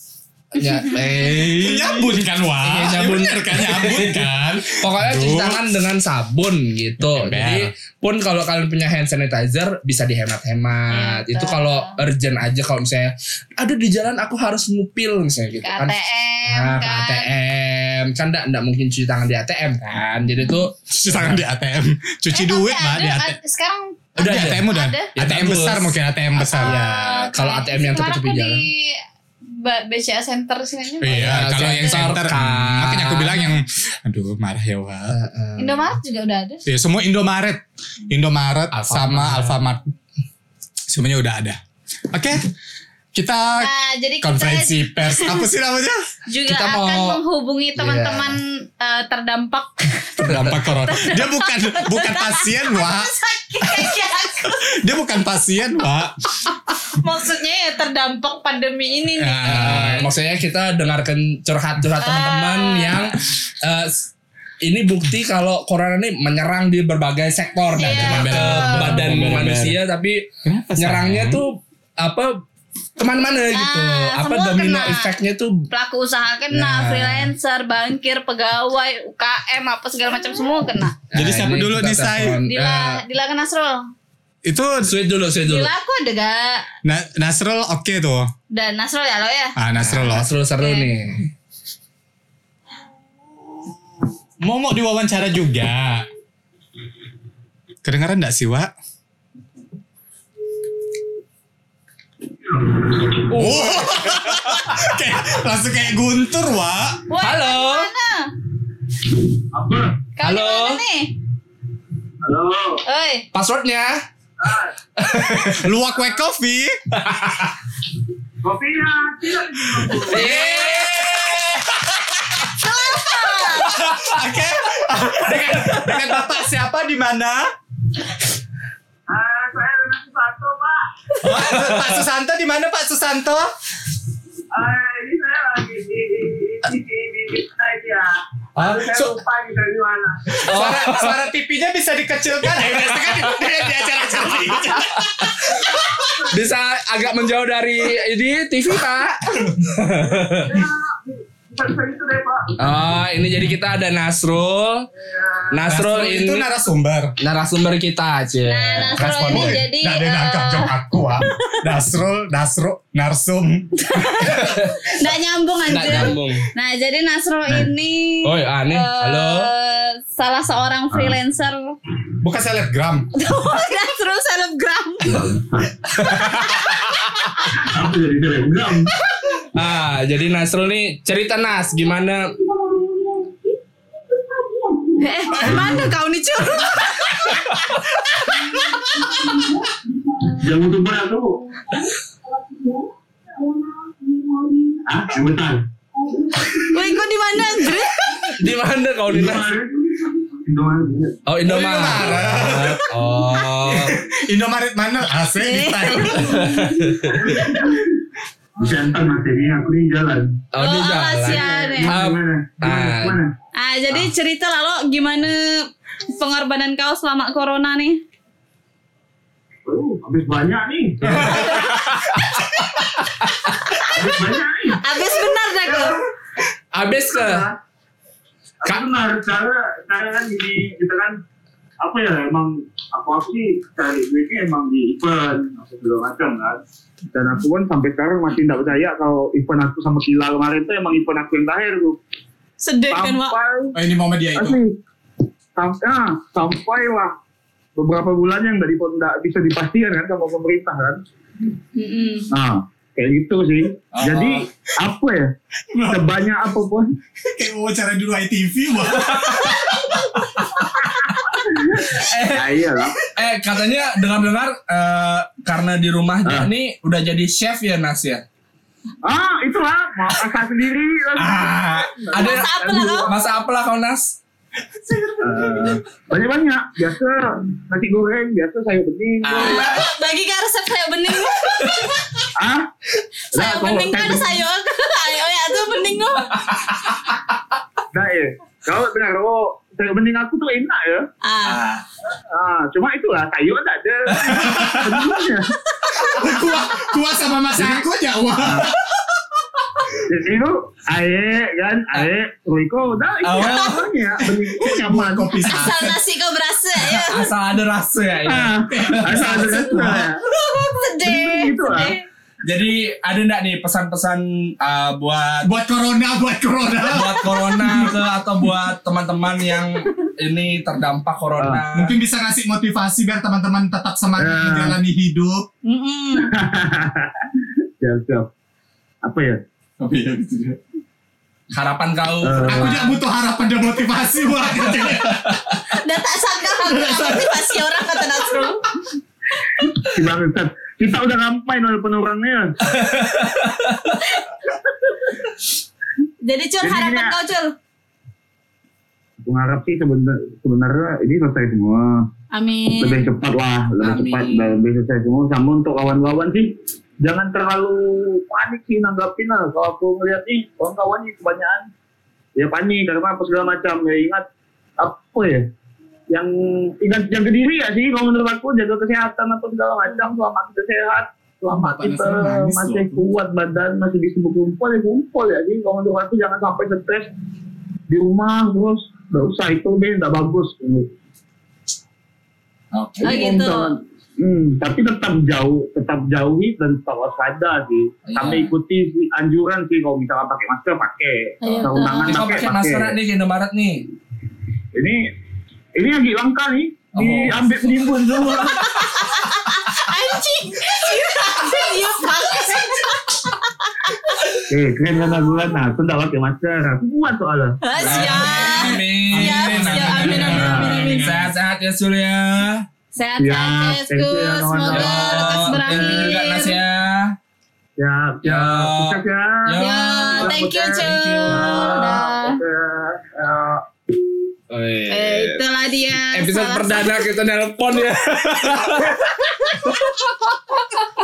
Speaker 4: ya eh
Speaker 1: Nyabun kan Wak.
Speaker 4: Iya,
Speaker 1: Ya,
Speaker 4: nyabun.
Speaker 1: bener kan nyabun kan.
Speaker 4: pokoknya cuci
Speaker 1: Aduh.
Speaker 4: tangan dengan sabun gitu
Speaker 1: Ember.
Speaker 4: jadi pun kalau kalian punya hand sanitizer bisa dihemat-hemat
Speaker 2: Iya,
Speaker 4: itu
Speaker 2: betul.
Speaker 4: kalau urgent aja kalau misalnya ada di jalan aku harus ngupil misalnya
Speaker 2: ke
Speaker 4: gitu kan
Speaker 2: ATM
Speaker 4: Ah, ke
Speaker 2: kan
Speaker 4: ATM kan enggak enggak mungkin cuci tangan di ATM kan. Jadi tuh
Speaker 1: Cuci tangan di ATM. Cuci
Speaker 2: Eh,
Speaker 1: duit
Speaker 2: tapi
Speaker 1: Wak di
Speaker 4: ya,
Speaker 2: ada-
Speaker 1: ATM.
Speaker 2: sekarang
Speaker 1: Udah
Speaker 4: Ada.
Speaker 1: ATM udah.
Speaker 2: Ada.
Speaker 4: Ya,
Speaker 1: ATM
Speaker 4: bagus.
Speaker 1: besar mungkin ATM besar.
Speaker 4: Iya,
Speaker 2: eh,
Speaker 4: kalau
Speaker 2: kayak-
Speaker 4: ATM yang tepi-tepi
Speaker 2: kemarin aku
Speaker 4: jalan.
Speaker 2: di Ba- BCA Center sini aja.
Speaker 1: Iya,
Speaker 4: Iya,
Speaker 1: kalau yang
Speaker 4: center
Speaker 1: center hmm,
Speaker 4: kan.
Speaker 1: makanya aku bilang yang aduh marah ya Wak.
Speaker 4: eh,
Speaker 2: Indomaret juga udah ada
Speaker 1: Ya, semua Indomaret, Indomaret
Speaker 4: Alfamart.
Speaker 1: sama Alfamart. Semuanya udah ada. Oke. Kita
Speaker 2: nah jadi kita
Speaker 1: konferensi pers apa sih namanya?
Speaker 2: juga
Speaker 4: Iya. Kita
Speaker 2: akan
Speaker 4: mau- Iya.
Speaker 2: menghubungi teman-teman eh, terdampak [LAUGHS]
Speaker 1: Terdampak corona. Dia bukan bukan pasien, Wak.
Speaker 2: sakit kayak aku.
Speaker 1: Dia bukan pasien, Wak.
Speaker 2: maksudnya ya terdampak pandemi ini nih
Speaker 1: Ah. Nah,
Speaker 4: eh, maksudnya kita dengarkan curhat-curhat teman-teman
Speaker 2: Ah.
Speaker 4: yang eh, s- ini bukti kalau corona ini menyerang di berbagai sektor dan
Speaker 2: Iya,
Speaker 4: berbagai
Speaker 2: betul.
Speaker 4: badan
Speaker 1: Bener-bener.
Speaker 4: manusia tapi
Speaker 1: Kenapa, sayang?
Speaker 4: nyerangnya tuh apa kemana-mana gitu.
Speaker 2: Ah,
Speaker 4: Apa
Speaker 2: semua
Speaker 4: domino
Speaker 2: kena.
Speaker 4: efeknya tuh
Speaker 2: pelaku usaha kena
Speaker 4: Nah.
Speaker 2: freelancer bangkir pegawai UKM apa segala macam semua kena
Speaker 1: Jadi siapa
Speaker 4: Ah, ini
Speaker 1: dulu
Speaker 4: kita
Speaker 1: nih, Say?
Speaker 4: telepon.
Speaker 2: Dila
Speaker 4: Eh,
Speaker 2: Dila kena Nasrul
Speaker 1: Itu
Speaker 4: sweet dulu, sweet dulu.
Speaker 2: Dila aku ada gak
Speaker 1: Na- Nasrul oke tuh.
Speaker 2: dan Nasrul ya lo ya
Speaker 1: Ah, Nasrul loh.
Speaker 4: Seru-seru
Speaker 2: Oke.
Speaker 4: nih.
Speaker 1: Mau mau diwawancara juga. Kedengaran enggak sih, Wak? Oh. [LAUGHS] kayak langsung kayak guntur, Wak.
Speaker 2: Woi,
Speaker 4: Halo.
Speaker 2: kau di mana?
Speaker 5: Apa?
Speaker 2: Kau di
Speaker 4: Halo.
Speaker 2: mana nih
Speaker 5: Halo.
Speaker 2: Oi
Speaker 4: Passwordnya?
Speaker 1: Luwak wek coffee.
Speaker 5: Kopinya tidak diminum.
Speaker 1: Oke. dengan, dengan Bapak siapa di mana?
Speaker 5: Ah, saya dengan Susanto, Pak.
Speaker 1: Pak, Pak Susanto di mana Pak Susanto?
Speaker 3: Oh.
Speaker 5: Ah, ini saya lagi di di di di di di aja.
Speaker 1: Ah,
Speaker 5: Saya
Speaker 1: so-
Speaker 5: lupa di dari mana.
Speaker 1: Suara, suara TV-nya bisa dikecilkan.
Speaker 3: [LAUGHS] Iya,
Speaker 1: Ya, biasa kan di, di, di acara-acara ini.
Speaker 4: Bisa agak menjauh dari ini TV, Pak.
Speaker 5: Saya di
Speaker 6: Saya itu deh pak.
Speaker 4: Oh, ini jadi kita ada Nasrul. Nasrul,
Speaker 1: Nasrul
Speaker 4: ini
Speaker 1: itu narasumber.
Speaker 4: narasumber kita aja.
Speaker 2: Nah, Nasrul ini
Speaker 4: ya.
Speaker 1: Respon,
Speaker 2: jadi
Speaker 1: Nggak ada yang nangkap
Speaker 2: eh,
Speaker 1: jok aku ah. Nasrul, Nasrul, Narsum.
Speaker 2: nggak nyambung
Speaker 4: Nggak
Speaker 2: anjir.
Speaker 4: nyambung.
Speaker 2: Nah, jadi Nasrul ini
Speaker 4: Oi,
Speaker 2: eh,
Speaker 4: aneh. Halo. Ah.
Speaker 2: salah seorang freelancer. [LAUGHS]
Speaker 1: Bukan selebgram.
Speaker 2: Nasrul selebgram.
Speaker 5: Aku jadi telegram.
Speaker 4: Ah, jadi Nasrul nih cerita Nas gimana?
Speaker 2: eh, mana kau nih cuy?
Speaker 5: Yang untuk berat tuh. Ah, sebentar.
Speaker 2: Wih, kau di mana anjir?
Speaker 4: Di mana kau di Nas?
Speaker 5: Indomaret.
Speaker 4: Oh, Indomaret.
Speaker 1: Indomaret.
Speaker 4: Oh.
Speaker 1: Indomaret mana? AC
Speaker 2: Eh.
Speaker 1: kita.
Speaker 5: Bisa antar materinya aku ini jalan.
Speaker 4: Oh, di
Speaker 2: Oh,
Speaker 4: jalan.
Speaker 2: kasihan ya.
Speaker 4: Ah,
Speaker 5: Gimana? Gimana?
Speaker 4: ah.
Speaker 5: Gimana?
Speaker 2: Ah, jadi cerita lah lo gimana pengorbanan kau selama corona nih?
Speaker 5: Oh, habis banyak nih.
Speaker 4: [LAUGHS]
Speaker 5: habis banyak nih.
Speaker 2: Abis benar dah kau.
Speaker 4: Abis ke
Speaker 5: Kak benar Iya. cara cara kan gini kita kan apa ya emang aku aku sih cari duitnya emang di event apa segala macam kan dan aku pun sampai sekarang masih tidak percaya kalau event aku sama Kila kemarin tuh emang event aku yang terakhir tuh
Speaker 2: Sedih kan, Wak?
Speaker 5: sampai
Speaker 1: Oh, ini momen dia itu.
Speaker 5: asli sampai ah, sampai lah beberapa bulan yang dari tidak bisa dipastikan kan sama pemerintah kan
Speaker 2: Mm-mm.
Speaker 5: nah Ha, kayak gitu sih
Speaker 1: Ah.
Speaker 5: jadi apa ya sebanyak apapun
Speaker 1: [LAUGHS] Kayak wawancara dulu ITV
Speaker 5: [LAUGHS]
Speaker 1: wah.
Speaker 5: ya iyalah
Speaker 4: eh katanya dengar-dengar eh, karena di rumahnya nih udah jadi chef ya Nas ya.
Speaker 5: ah itulah mau masak sendiri
Speaker 4: Ah, ada
Speaker 2: Masa apa lah kau?
Speaker 4: Masa apa lah kau Nas?
Speaker 5: Eh, banyak-banyak biasa nasi goreng biasa sayur bening
Speaker 1: Ah.
Speaker 2: Bagi kau resep saya bening.
Speaker 5: [LAUGHS] ah
Speaker 2: Saya bening kan sayur.
Speaker 5: gitu.
Speaker 2: [LAUGHS] Ayo ya tuh bening lo.
Speaker 5: nah ya kalau benar oh sayur bening aku tuh enak ya
Speaker 2: Ah.
Speaker 4: Ah,
Speaker 5: ah cuma itulah sayur tak
Speaker 1: [LAUGHS]
Speaker 5: ada Sebenarnya.
Speaker 1: Kuah, kuah sama masak aku ya wah.
Speaker 5: jadi itu air kan air turiko dah itu
Speaker 4: Oh.
Speaker 5: banyak bening itu nyaman
Speaker 1: Kopi satu.
Speaker 2: Asal nasi kau berasa
Speaker 5: [LAUGHS]
Speaker 2: ya.
Speaker 4: asal ada rasa ya. ini.
Speaker 5: ah asal ada ya. rasa
Speaker 2: Sedih.
Speaker 5: Gitu lah.
Speaker 2: sedih.
Speaker 4: Jadi ada ndak nih pesan-pesan eh, buat
Speaker 1: Buat corona, buat corona.
Speaker 4: buat corona ke atau buat teman-teman yang ini terdampak corona.
Speaker 1: Mungkin bisa ngasih motivasi biar teman-teman tetap semangat
Speaker 5: Ya.
Speaker 1: menjalani hidup.
Speaker 2: Mm-mm.
Speaker 5: siap siap apa ya
Speaker 4: harapan kau
Speaker 5: Eh.
Speaker 1: Aku
Speaker 4: apa?
Speaker 1: juga butuh harapan dan motivasi wah.
Speaker 2: Dan tak sangka
Speaker 5: [LAUGHS]
Speaker 2: kau kena motivasi orang kata Nasrul.
Speaker 5: si Bang Ustaz. kita udah ngapain walaupun orangnya
Speaker 2: Jadi Cul
Speaker 5: Jadi
Speaker 2: harapan
Speaker 5: gini,
Speaker 2: kau Cul.
Speaker 5: aku harap sih sebenar- sebenarnya ini selesai semua lebih
Speaker 2: Amin.
Speaker 5: cepat lah lebih
Speaker 4: Amin.
Speaker 5: cepat dan lebih selesai semua sama untuk kawan-kawan sih jangan terlalu panik sih nanggapin lah kalau aku ngeliat nih kawan-kawan ini kebanyakan ya panik karena apa segala macam ya ingat apa ya yang ingat jaga diri ya sih kalau menurut aku jaga kesehatan apa segala macam selama kita sehat selama
Speaker 1: Bapak
Speaker 5: kita
Speaker 1: Nasrul nangis
Speaker 5: masih
Speaker 1: loh.
Speaker 5: kuat badan masih bisa berkumpul ya kumpul ya sih kalau menurut aku jangan sampai stres di rumah terus nggak usah itu deh nggak bagus
Speaker 4: Oke.
Speaker 2: Oh,
Speaker 5: Jadi
Speaker 2: gitu.
Speaker 5: kalau misalkan- Hmm, tapi tetap jauh, tetap jauhi dan tetap waspada sih.
Speaker 2: Oh,
Speaker 5: Sampai
Speaker 4: Iya.
Speaker 5: ikuti si- anjuran sih kalau misalnya pakai masker pakai,
Speaker 2: Iya,
Speaker 5: sarung
Speaker 2: betul.
Speaker 5: tangan
Speaker 4: Ini kau
Speaker 5: pakai,
Speaker 4: pakai
Speaker 5: pakai.
Speaker 4: masker nih ke Indomaret nih.
Speaker 5: Ini ini lagi langka nih,
Speaker 4: Oh.
Speaker 5: diambil penimbun semua.
Speaker 2: Anjing. Iya banget.
Speaker 5: [LAUGHS] eh, keren kan lagu kan? Nah, aku nggak pakai masker, aku kuat soalnya.
Speaker 2: Ah, Siap.
Speaker 4: Amin.
Speaker 2: Siap, siap. Amin, amin, amin, amin.
Speaker 4: Sehat-sehat ya Surya.
Speaker 2: Sehat
Speaker 5: Siap,
Speaker 2: sehat Cesku.
Speaker 5: thank you, ya,
Speaker 2: Semoga
Speaker 5: kawan-kawan.
Speaker 2: lekas
Speaker 4: Enggak Nas
Speaker 2: berakhir.
Speaker 4: ya.
Speaker 5: Ya, ya,
Speaker 4: Ya.
Speaker 5: sukses ya.
Speaker 4: Ya.
Speaker 2: Ya, thank you Cul.
Speaker 4: Thank you.
Speaker 2: Dah.
Speaker 5: Oke, ya.
Speaker 2: Eh, itulah dia.
Speaker 4: Episode
Speaker 2: salah-
Speaker 4: perdana kita nelpon ya.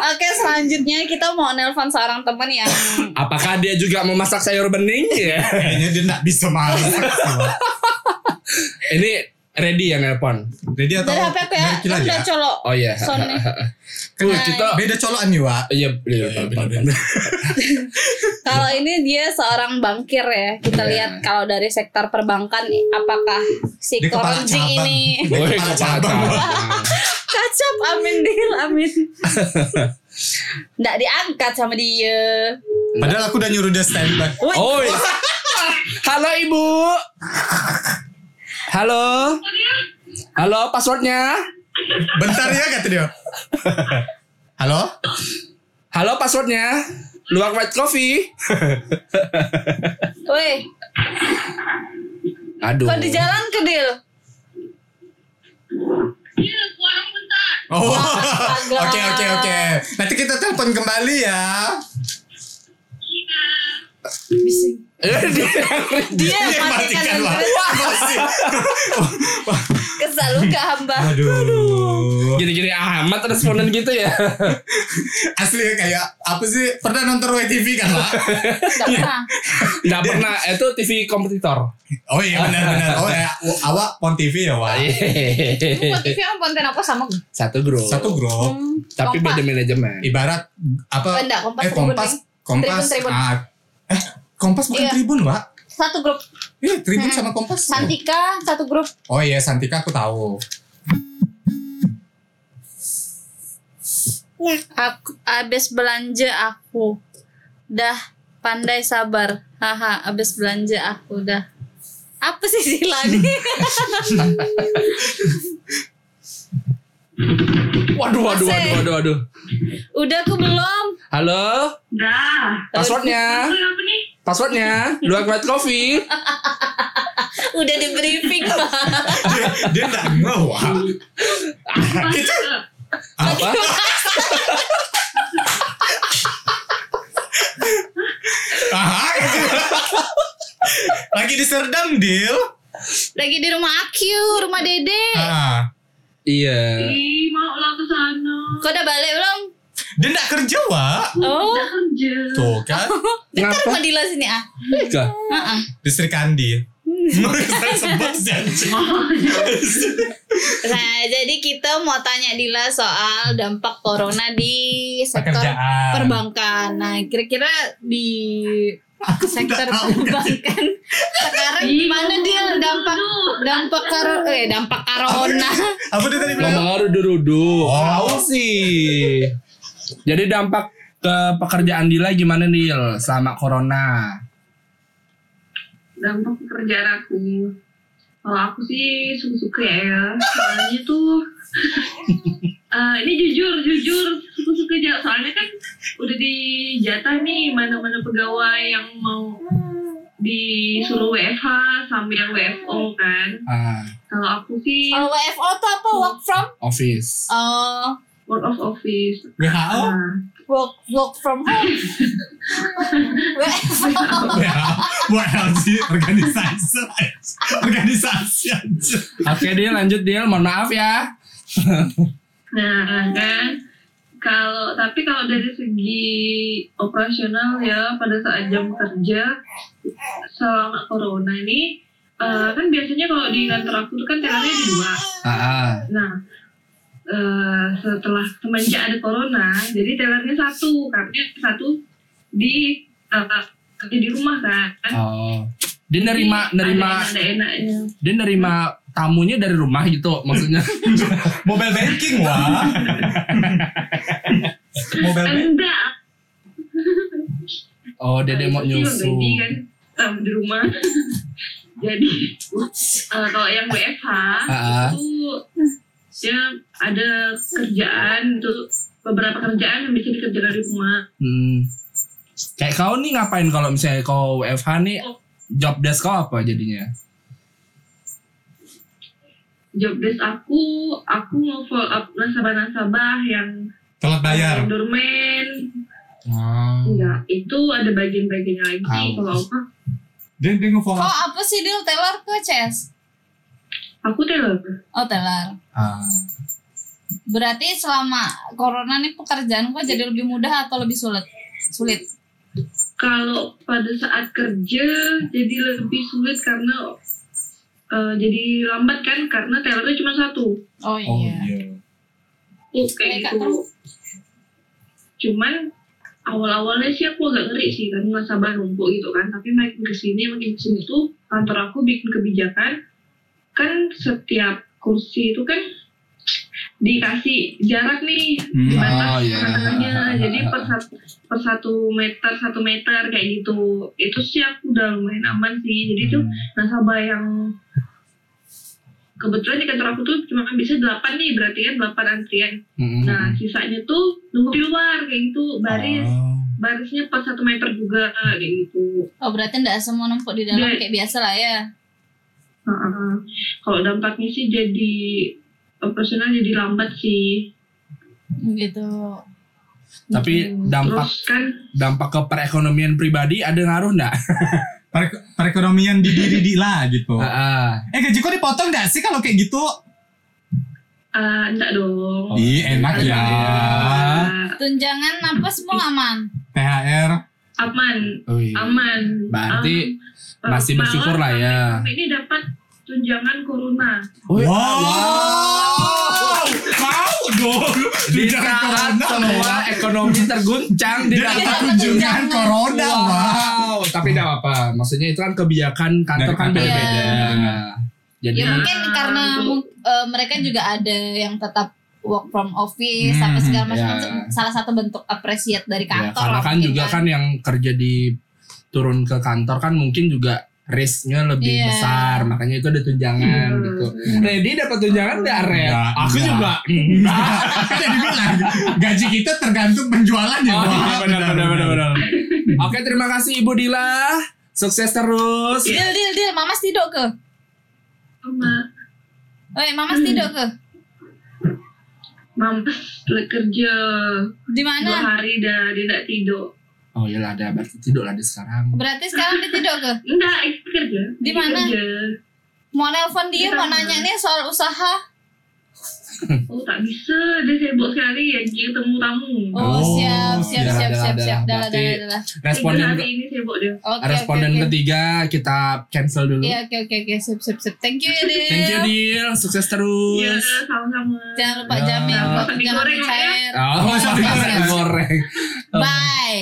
Speaker 2: Oke, selanjutnya kita mau nelpon seorang ya. teman yang
Speaker 4: Apakah dia juga mau masak sayur
Speaker 2: [LAUGHS]
Speaker 4: bening ya?
Speaker 1: Kayaknya dia nggak bisa masak. Wak.
Speaker 4: Ini ready ya nelpon.
Speaker 1: Jadi atau
Speaker 2: dari HP aku ya,
Speaker 1: dari Kila
Speaker 2: kan udah
Speaker 1: ya?
Speaker 2: colok.
Speaker 4: Oh iya. [LAUGHS]
Speaker 2: Soundnya.
Speaker 1: Kan
Speaker 2: Hai.
Speaker 1: kita beda colokan nih Wak.
Speaker 4: Iya, iya,
Speaker 1: Iya,
Speaker 4: benar,
Speaker 1: benar,
Speaker 4: benar.
Speaker 2: Kalau ini dia seorang bankir ya. Kita
Speaker 3: Iya.
Speaker 2: lihat kalau dari sektor perbankan apakah si
Speaker 1: Di kepala
Speaker 2: Koronjing
Speaker 1: cabang. [LAUGHS]
Speaker 2: ini
Speaker 3: Woi,
Speaker 1: Kepala
Speaker 3: kepala
Speaker 1: cabang.
Speaker 3: cabang.
Speaker 2: kacap amin deal amin. Nggak diangkat sama dia.
Speaker 1: Padahal aku udah nyuruh dia standby.
Speaker 2: Wih,
Speaker 4: Oh,
Speaker 3: Oi.
Speaker 4: iya.
Speaker 3: Halo Ibu. Halo. Halo passwordnya.
Speaker 1: Bentar ya kata dia. Halo?
Speaker 3: Halo passwordnya. Luang white coffee.
Speaker 2: wih,
Speaker 3: Aduh.
Speaker 2: kok di jalan ke deal?
Speaker 1: Oh.
Speaker 2: Astaga.
Speaker 1: [LAUGHS] Oke oke oke. Nanti kita telepon kembali ya.
Speaker 2: Dia
Speaker 1: Dia
Speaker 2: matikan
Speaker 1: yang matikan lah.
Speaker 2: lampu.
Speaker 1: Masih.
Speaker 2: [LAUGHS] Kesal luka hamba.
Speaker 1: Aduh.
Speaker 3: Gini-gini amat responden gitu ya.
Speaker 1: Asli kayak apa sih? Pernah nonton WTV kan lah?
Speaker 2: Nggak pernah.
Speaker 3: Enggak pernah itu TV kompetitor.
Speaker 1: Oh iya benar benar. Oh ya, awak Pon TV
Speaker 2: Iya.
Speaker 1: ya Wak?
Speaker 2: Buat
Speaker 1: Iya.
Speaker 2: TV sama konten apa
Speaker 1: Oh,
Speaker 2: sama?
Speaker 3: Satu grup.
Speaker 1: Satu grup.
Speaker 2: Hmm,
Speaker 3: Tapi
Speaker 2: kompak.
Speaker 3: beda manajemen.
Speaker 1: Ibarat apa?
Speaker 2: Oh, enggak, Kompas,
Speaker 1: eh kompas kompas.
Speaker 2: Tribun, Tribun.
Speaker 1: ah, eh kompas [LAUGHS] bukan
Speaker 2: Iya.
Speaker 1: Tribun Wak?
Speaker 2: Satu grup.
Speaker 1: Iya Tribun
Speaker 2: Mm-mm.
Speaker 1: sama kompas.
Speaker 2: Santika satu grup.
Speaker 1: Oh iya Santika aku tahu.
Speaker 2: Aku abis belanja aku. Dah pandai sabar. Haha, abis belanja aku dah. Apa sih sila
Speaker 1: [LAUGHS]
Speaker 2: ini?
Speaker 3: Waduh, waduh, waduh,
Speaker 2: Masih.
Speaker 3: waduh, waduh.
Speaker 2: Udah aku belum.
Speaker 3: Halo,
Speaker 7: Dah.
Speaker 3: passwordnya,
Speaker 7: Itu Nah. apa nih?
Speaker 3: passwordnya, luang white coffee.
Speaker 2: Udah di briefing Pak.
Speaker 1: dia dia nggak ngeh Wak. Kita
Speaker 3: Apa?
Speaker 1: Aha, gitu. Lagi di Serdam, Dil.
Speaker 2: Lagi di rumah Akyu, rumah Dede.
Speaker 1: Ah.
Speaker 3: Iya.
Speaker 7: Ih, mau lah ke sana.
Speaker 2: Kau udah balik belum?
Speaker 1: Dia nggak kerja, Wak.
Speaker 2: Oh.
Speaker 7: Udah kerja.
Speaker 1: Tuh kan,
Speaker 2: [LAUGHS] Bentar
Speaker 3: Ngapa?
Speaker 2: rumah Dila sini ah.
Speaker 3: Enggak.
Speaker 2: Heeh.
Speaker 1: di Sri
Speaker 2: [LAUGHS]
Speaker 1: Kandi. Saya sebut janji.
Speaker 2: Nah, jadi kita mau tanya Dila soal dampak corona di sektor
Speaker 1: Pekerjaan.
Speaker 2: perbankan. Nah, kira-kira di sektor
Speaker 1: tahu.
Speaker 2: perbankan sekarang gimana dia dampak dampak karo eh dampak corona
Speaker 1: Apa dia tadi bilang?
Speaker 3: Ngomong rudu-rudu.
Speaker 1: Oh.
Speaker 3: Tahu sih. Jadi dampak ke pekerjaan Dila gimana Nil selama corona?
Speaker 7: dampak pekerjaan aku kalau aku sih suka-suka ya soalnya tuh eh, ini jujur jujur suka-suka aja soalnya kan udah dijatah nih mana-mana pegawai yang mau disuruh WFH sama yang WFO kan
Speaker 3: Ah,
Speaker 7: kalau aku
Speaker 2: [LAUGHS]
Speaker 7: sih
Speaker 2: kalau WFO tuh apa work from
Speaker 3: office.
Speaker 2: oh
Speaker 7: work of office
Speaker 1: WHO?
Speaker 7: Nah,
Speaker 2: work work from [LAUGHS] home WFO
Speaker 1: WHO. WHO sih, organisasi. Organisasi aja.
Speaker 3: Oke Dil lanjut Dil, mohon maaf ya.
Speaker 7: Nah kan kalau tapi kalau dari segi operasional ya pada saat jam kerja selama corona ini eh, kan biasanya kalau di kantor aku tuh kan telernya ada dua.
Speaker 3: Ah, ah.
Speaker 7: Nah eh, setelah semenjak ada corona jadi telernya satu karena satu di eh, kerja di rumah kan.
Speaker 3: Oh. Dia nerima nerima
Speaker 7: ada enaknya.
Speaker 3: dia nerima tamunya dari rumah gitu maksudnya.
Speaker 1: Mobile banking, Wak. Mobile banking.
Speaker 7: Enggak.
Speaker 3: Oh, dia dia mau
Speaker 7: Itu sih
Speaker 3: nyusul.
Speaker 7: membeli kan em, di rumah
Speaker 3: [LAUGHS]
Speaker 7: jadi eh, kalau yang WFH
Speaker 3: Ah, ah.
Speaker 7: itu dia ada kerjaan untuk beberapa kerjaan yang bisa dikerjakan di rumah
Speaker 3: Hmm. Kayak kau nih ngapain kalau misalnya kau WFH nih job desk kau apa jadinya?
Speaker 7: job desk aku aku mau follow up nasabah-nasabah yang
Speaker 1: Telat bayar.
Speaker 3: Iya.
Speaker 7: yang dormen
Speaker 1: Ah,
Speaker 3: Oh.
Speaker 7: enggak Iya, itu ada bagian-bagiannya lagi
Speaker 3: Aus.
Speaker 7: kalau aku
Speaker 1: Dia dia nge-follow
Speaker 2: kok
Speaker 1: up.
Speaker 2: apa sih deal teller ke CS
Speaker 7: aku teller
Speaker 2: oh teller
Speaker 3: Ah.
Speaker 2: berarti selama corona nih pekerjaan gua jadi lebih mudah atau lebih sulit sulit
Speaker 7: kalau pada saat kerja jadi lebih sulit karena eh, jadi lambat kan karena tellernya cuma satu
Speaker 2: oh
Speaker 1: Oh
Speaker 2: iya
Speaker 1: iya.
Speaker 7: Tuh, kayak
Speaker 2: Mereka
Speaker 7: gitu.
Speaker 2: tahu.
Speaker 7: Cuman awal-awalnya sih aku agak ngeri sih kan nasabah numpuk gitu kan tapi makin kesini makin kesini tuh kantor aku bikin kebijakan kan setiap kursi itu kan dikasih jarak nih
Speaker 1: Hmm,
Speaker 3: oh,
Speaker 7: dibatas
Speaker 3: iya.
Speaker 7: tengah-tengahnya jadi per satu, per satu meter satu meter kayak gitu itu sih aku udah lumayan aman sih jadi tuh nasabah yang kebetulan di kantor aku tuh cuma bisa 8 nih berarti kan 8 antrian
Speaker 3: Mm-mm.
Speaker 7: nah sisanya tuh nunggu di luar kayak gitu baris
Speaker 3: Ah.
Speaker 1: Oh.
Speaker 7: barisnya pas satu meter juga kayak gitu
Speaker 2: Oh berarti nggak semua numpuk di dalam
Speaker 7: Nggak.
Speaker 2: kayak biasa lah ya. Ah,
Speaker 7: Heeh. kalau dampaknya sih jadi operasional jadi lambat sih
Speaker 2: Gitu.
Speaker 3: Tapi
Speaker 2: Gitu.
Speaker 3: dampak
Speaker 7: terus kan
Speaker 3: dampak ke perekonomian pribadi ada ngaruh
Speaker 1: [LAUGHS]
Speaker 3: nggak?
Speaker 1: Perek- perekonomian di
Speaker 3: [LAUGHS]
Speaker 1: diri di lah gitu.
Speaker 3: Heeh.
Speaker 1: Eh gaji kok dipotong gak sih kalau kayak gitu?
Speaker 7: eh enggak dong
Speaker 3: Oh,
Speaker 1: Ih enak ya.
Speaker 7: Eh,
Speaker 2: tunjangan apa semua aman.
Speaker 1: THR.
Speaker 7: aman
Speaker 3: Oh, iya.
Speaker 7: aman
Speaker 3: Berarti
Speaker 7: Am-
Speaker 3: masih bersyukur lah ya.
Speaker 7: sampai ini dapat tunjangan corona
Speaker 3: Oh,
Speaker 1: Wow.
Speaker 3: iya.
Speaker 1: Mau dong.
Speaker 3: Di
Speaker 1: Tunjangan
Speaker 3: saat
Speaker 1: corona
Speaker 3: semua
Speaker 1: loh.
Speaker 3: ekonomi terguncang di
Speaker 1: Dia dapat
Speaker 2: dapat
Speaker 1: kunjungan
Speaker 2: Iya, tunjangan.
Speaker 1: corona, Wak.
Speaker 3: Wow, Oh, tapi tidak apa-apa. Maksudnya itu kan kebijakan kantor
Speaker 1: Dari
Speaker 3: kan
Speaker 1: kantor.
Speaker 3: beda-beda.
Speaker 1: Iya.
Speaker 3: Jadi
Speaker 2: Ya mungkin
Speaker 7: Nah,
Speaker 2: karena
Speaker 7: itu.
Speaker 2: mu- eh, mereka juga ada yang tetap work from office
Speaker 1: Hmm,
Speaker 2: apa segala macam
Speaker 3: ya.
Speaker 2: macam. salah satu bentuk apresiat dari
Speaker 3: ya,
Speaker 2: kantor.
Speaker 3: karena
Speaker 2: lah
Speaker 3: kan
Speaker 2: mungkin
Speaker 3: juga kan yang kerja di turun ke kantor kan mungkin juga risknya lebih
Speaker 2: Iya.
Speaker 3: besar, makanya itu ada tunjangan
Speaker 7: Hmm.
Speaker 3: gitu. Ready dapat tunjangan nggak Red?
Speaker 1: Nggak,
Speaker 3: Aku
Speaker 1: nggak. [LAUGHS]
Speaker 3: juga.
Speaker 1: Kan yang dibilang gaji kita tergantung penjualan ya.
Speaker 3: Oh,
Speaker 1: Wak.
Speaker 3: iya, benar, benar, benar, benar. Oke, terima kasih Ibu Dila. Sukses terus.
Speaker 2: Deal deal deal, Mamas tidur ke?
Speaker 7: sama
Speaker 2: Woi, Mamas
Speaker 7: Hmm.
Speaker 2: tidur ke?
Speaker 7: mampus le- kerja
Speaker 2: Di
Speaker 7: dua
Speaker 2: mana?
Speaker 7: hari dah dia tidak tidur
Speaker 3: Oh iyalah ada berarti tidur lah di sekarang.
Speaker 2: Berarti sekarang dia tidur ke?
Speaker 7: enggak itu kerja
Speaker 2: Di mana?
Speaker 7: kerja
Speaker 2: Mau nelpon dia,
Speaker 7: Di
Speaker 2: mau
Speaker 7: mana?
Speaker 2: nanya nih soal usaha.
Speaker 7: oh tak bisa dia sibuk sekali ya dia ketemu tamu
Speaker 2: Oh,
Speaker 1: Oh,
Speaker 2: siap, siap,
Speaker 3: dah,
Speaker 2: siap,
Speaker 3: dah,
Speaker 2: siap,
Speaker 3: dah.
Speaker 2: siap. Dah, dah,
Speaker 3: Berarti-
Speaker 2: dah, dah, dah.
Speaker 7: Tiga
Speaker 3: Responden
Speaker 7: hari ini sibuk dia
Speaker 2: Oke, oke,
Speaker 3: responden
Speaker 2: oke.
Speaker 3: ketiga kita cancel dulu.
Speaker 2: Iya, oke, oke, oke. Sip, sip, sip. Thank you, ya, Dil.
Speaker 3: Thank you Dil, sukses
Speaker 7: iya
Speaker 3: terus.
Speaker 7: sama-sama
Speaker 2: Jangan lupa
Speaker 3: Ya.
Speaker 2: jamin buat jangan
Speaker 7: Masak digoreng,
Speaker 2: dicet.
Speaker 3: Oh, sorry,
Speaker 2: Sukses.
Speaker 3: goreng.
Speaker 2: Bye.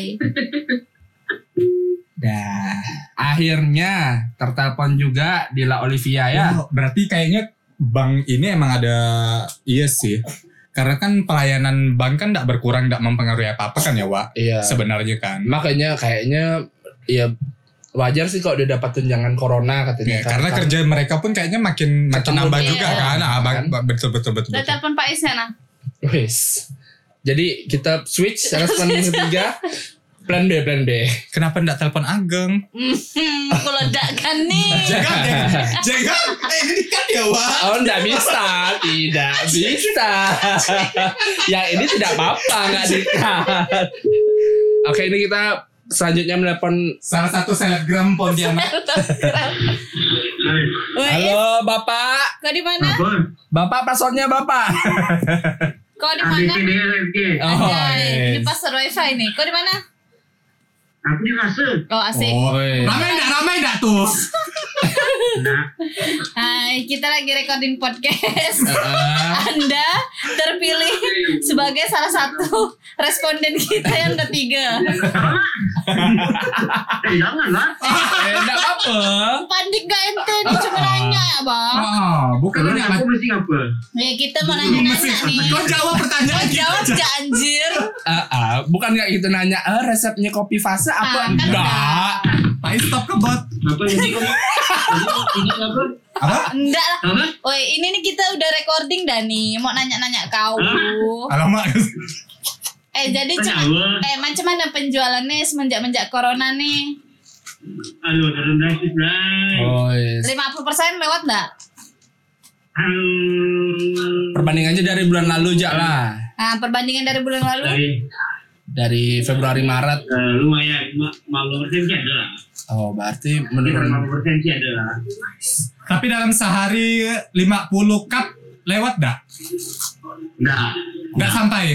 Speaker 3: Dah, akhirnya tertelepon juga Dila Olivia ya.
Speaker 1: Wow, berarti kayaknya bank ini emang ada iya sih. Karena kan pelayanan bank kan tidak berkurang, tidak mempengaruhi apa-apa kan ya, Wak?
Speaker 3: Iya.
Speaker 1: Sebenarnya kan.
Speaker 3: Makanya kayaknya ya wajar sih kalau dia dapat tunjangan corona katanya. kan.
Speaker 1: Ya, karena kerja mereka pun kayaknya makin
Speaker 3: Iya,
Speaker 1: makin
Speaker 3: Ketemu Iya.
Speaker 1: nambah
Speaker 2: dia.
Speaker 1: juga kan. Ah, bang- bang- betul betul betul.
Speaker 2: Udah
Speaker 1: betul.
Speaker 2: telepon Pak nah. Isena.
Speaker 3: Wis. Jadi kita
Speaker 2: [LAUGHS]
Speaker 3: switch respon ketiga. Plan B, plan B.
Speaker 1: Kenapa ndak telepon Ageng?
Speaker 2: Hmm, aku ledakan
Speaker 3: [LAUGHS]
Speaker 2: nih.
Speaker 1: Jangan, jangan, jangan. Eh, ini kan ya, Wak.
Speaker 3: Oh, enggak bisa, tidak bisa. Yang ini tidak apa-apa, enggak dikat. Oke, ini kita selanjutnya menelpon
Speaker 1: Salah satu selebgram Pontianak.
Speaker 5: Hai,
Speaker 2: Woi,
Speaker 3: Halo Bapak,
Speaker 2: kau di mana?
Speaker 5: Eh, apa?
Speaker 3: Bapak passwordnya Bapak.
Speaker 2: Kau di mana?
Speaker 5: ADC DLFG.
Speaker 3: Oh,
Speaker 2: Anjay, di
Speaker 3: yes.
Speaker 2: pasar wifi nih. Kau di mana?
Speaker 5: Aku di fase.
Speaker 2: Oh asik.
Speaker 1: Oh,
Speaker 3: Woi.
Speaker 1: ramai enggak, ramai enggak tuh?
Speaker 5: Nah,
Speaker 2: Hai, kita lagi recording podcast.
Speaker 3: Heeh.
Speaker 2: Anda terpilih sebagai salah satu responden kita yang ketiga.
Speaker 5: eh jangan lah.
Speaker 3: Eh, enggak apa-apa.
Speaker 2: Oh. Panik gak ente nih cuma nanya ya bang.
Speaker 1: Oh, bukan
Speaker 5: Kalau
Speaker 1: ini
Speaker 5: aku
Speaker 1: apa?
Speaker 5: mesti ngapa?
Speaker 2: Ya kita mau nanya-nanya nih.
Speaker 1: Kau jawab
Speaker 2: Kau
Speaker 1: pertanyaan
Speaker 2: jawab
Speaker 1: kita.
Speaker 2: gak anjir?
Speaker 3: Eh, eh, bukan nggak gitu nanya, eh resepnya kopi fase
Speaker 2: Ah,
Speaker 3: apa?
Speaker 2: kan
Speaker 3: enggak.
Speaker 1: Pak, stop ke bot.
Speaker 5: Apa jadi
Speaker 7: [LAUGHS]
Speaker 5: kamu? Ini apa?
Speaker 1: Apa?
Speaker 2: Enggak lah.
Speaker 5: Apa?
Speaker 2: Woi ini nih kita udah recording dah nih. Mau nanya-nanya kau.
Speaker 1: Alamak.
Speaker 2: Eh jadi
Speaker 5: Tanya
Speaker 2: cuma
Speaker 5: apa?
Speaker 2: Eh macam mana penjualannya semenjak-menjak corona nih?
Speaker 5: Halo, turun drastis, Bray.
Speaker 3: Oh, yes.
Speaker 2: 50% lewat gak?
Speaker 5: Hmm.
Speaker 3: Perbandingannya dari bulan lalu aja lah.
Speaker 2: Nah, perbandingan dari bulan lalu.
Speaker 8: Eh,
Speaker 3: Dari
Speaker 5: Dari
Speaker 3: Februari Maret.
Speaker 5: eh, lumayan, ma- 50 persen sih ada lah.
Speaker 3: Oh, berarti
Speaker 5: Sekitar
Speaker 3: menurun
Speaker 5: 50 persen sih ada lah.
Speaker 1: Tapi dalam sehari 50 cup lewat dah.
Speaker 5: Nggak,
Speaker 1: Nggak sampai.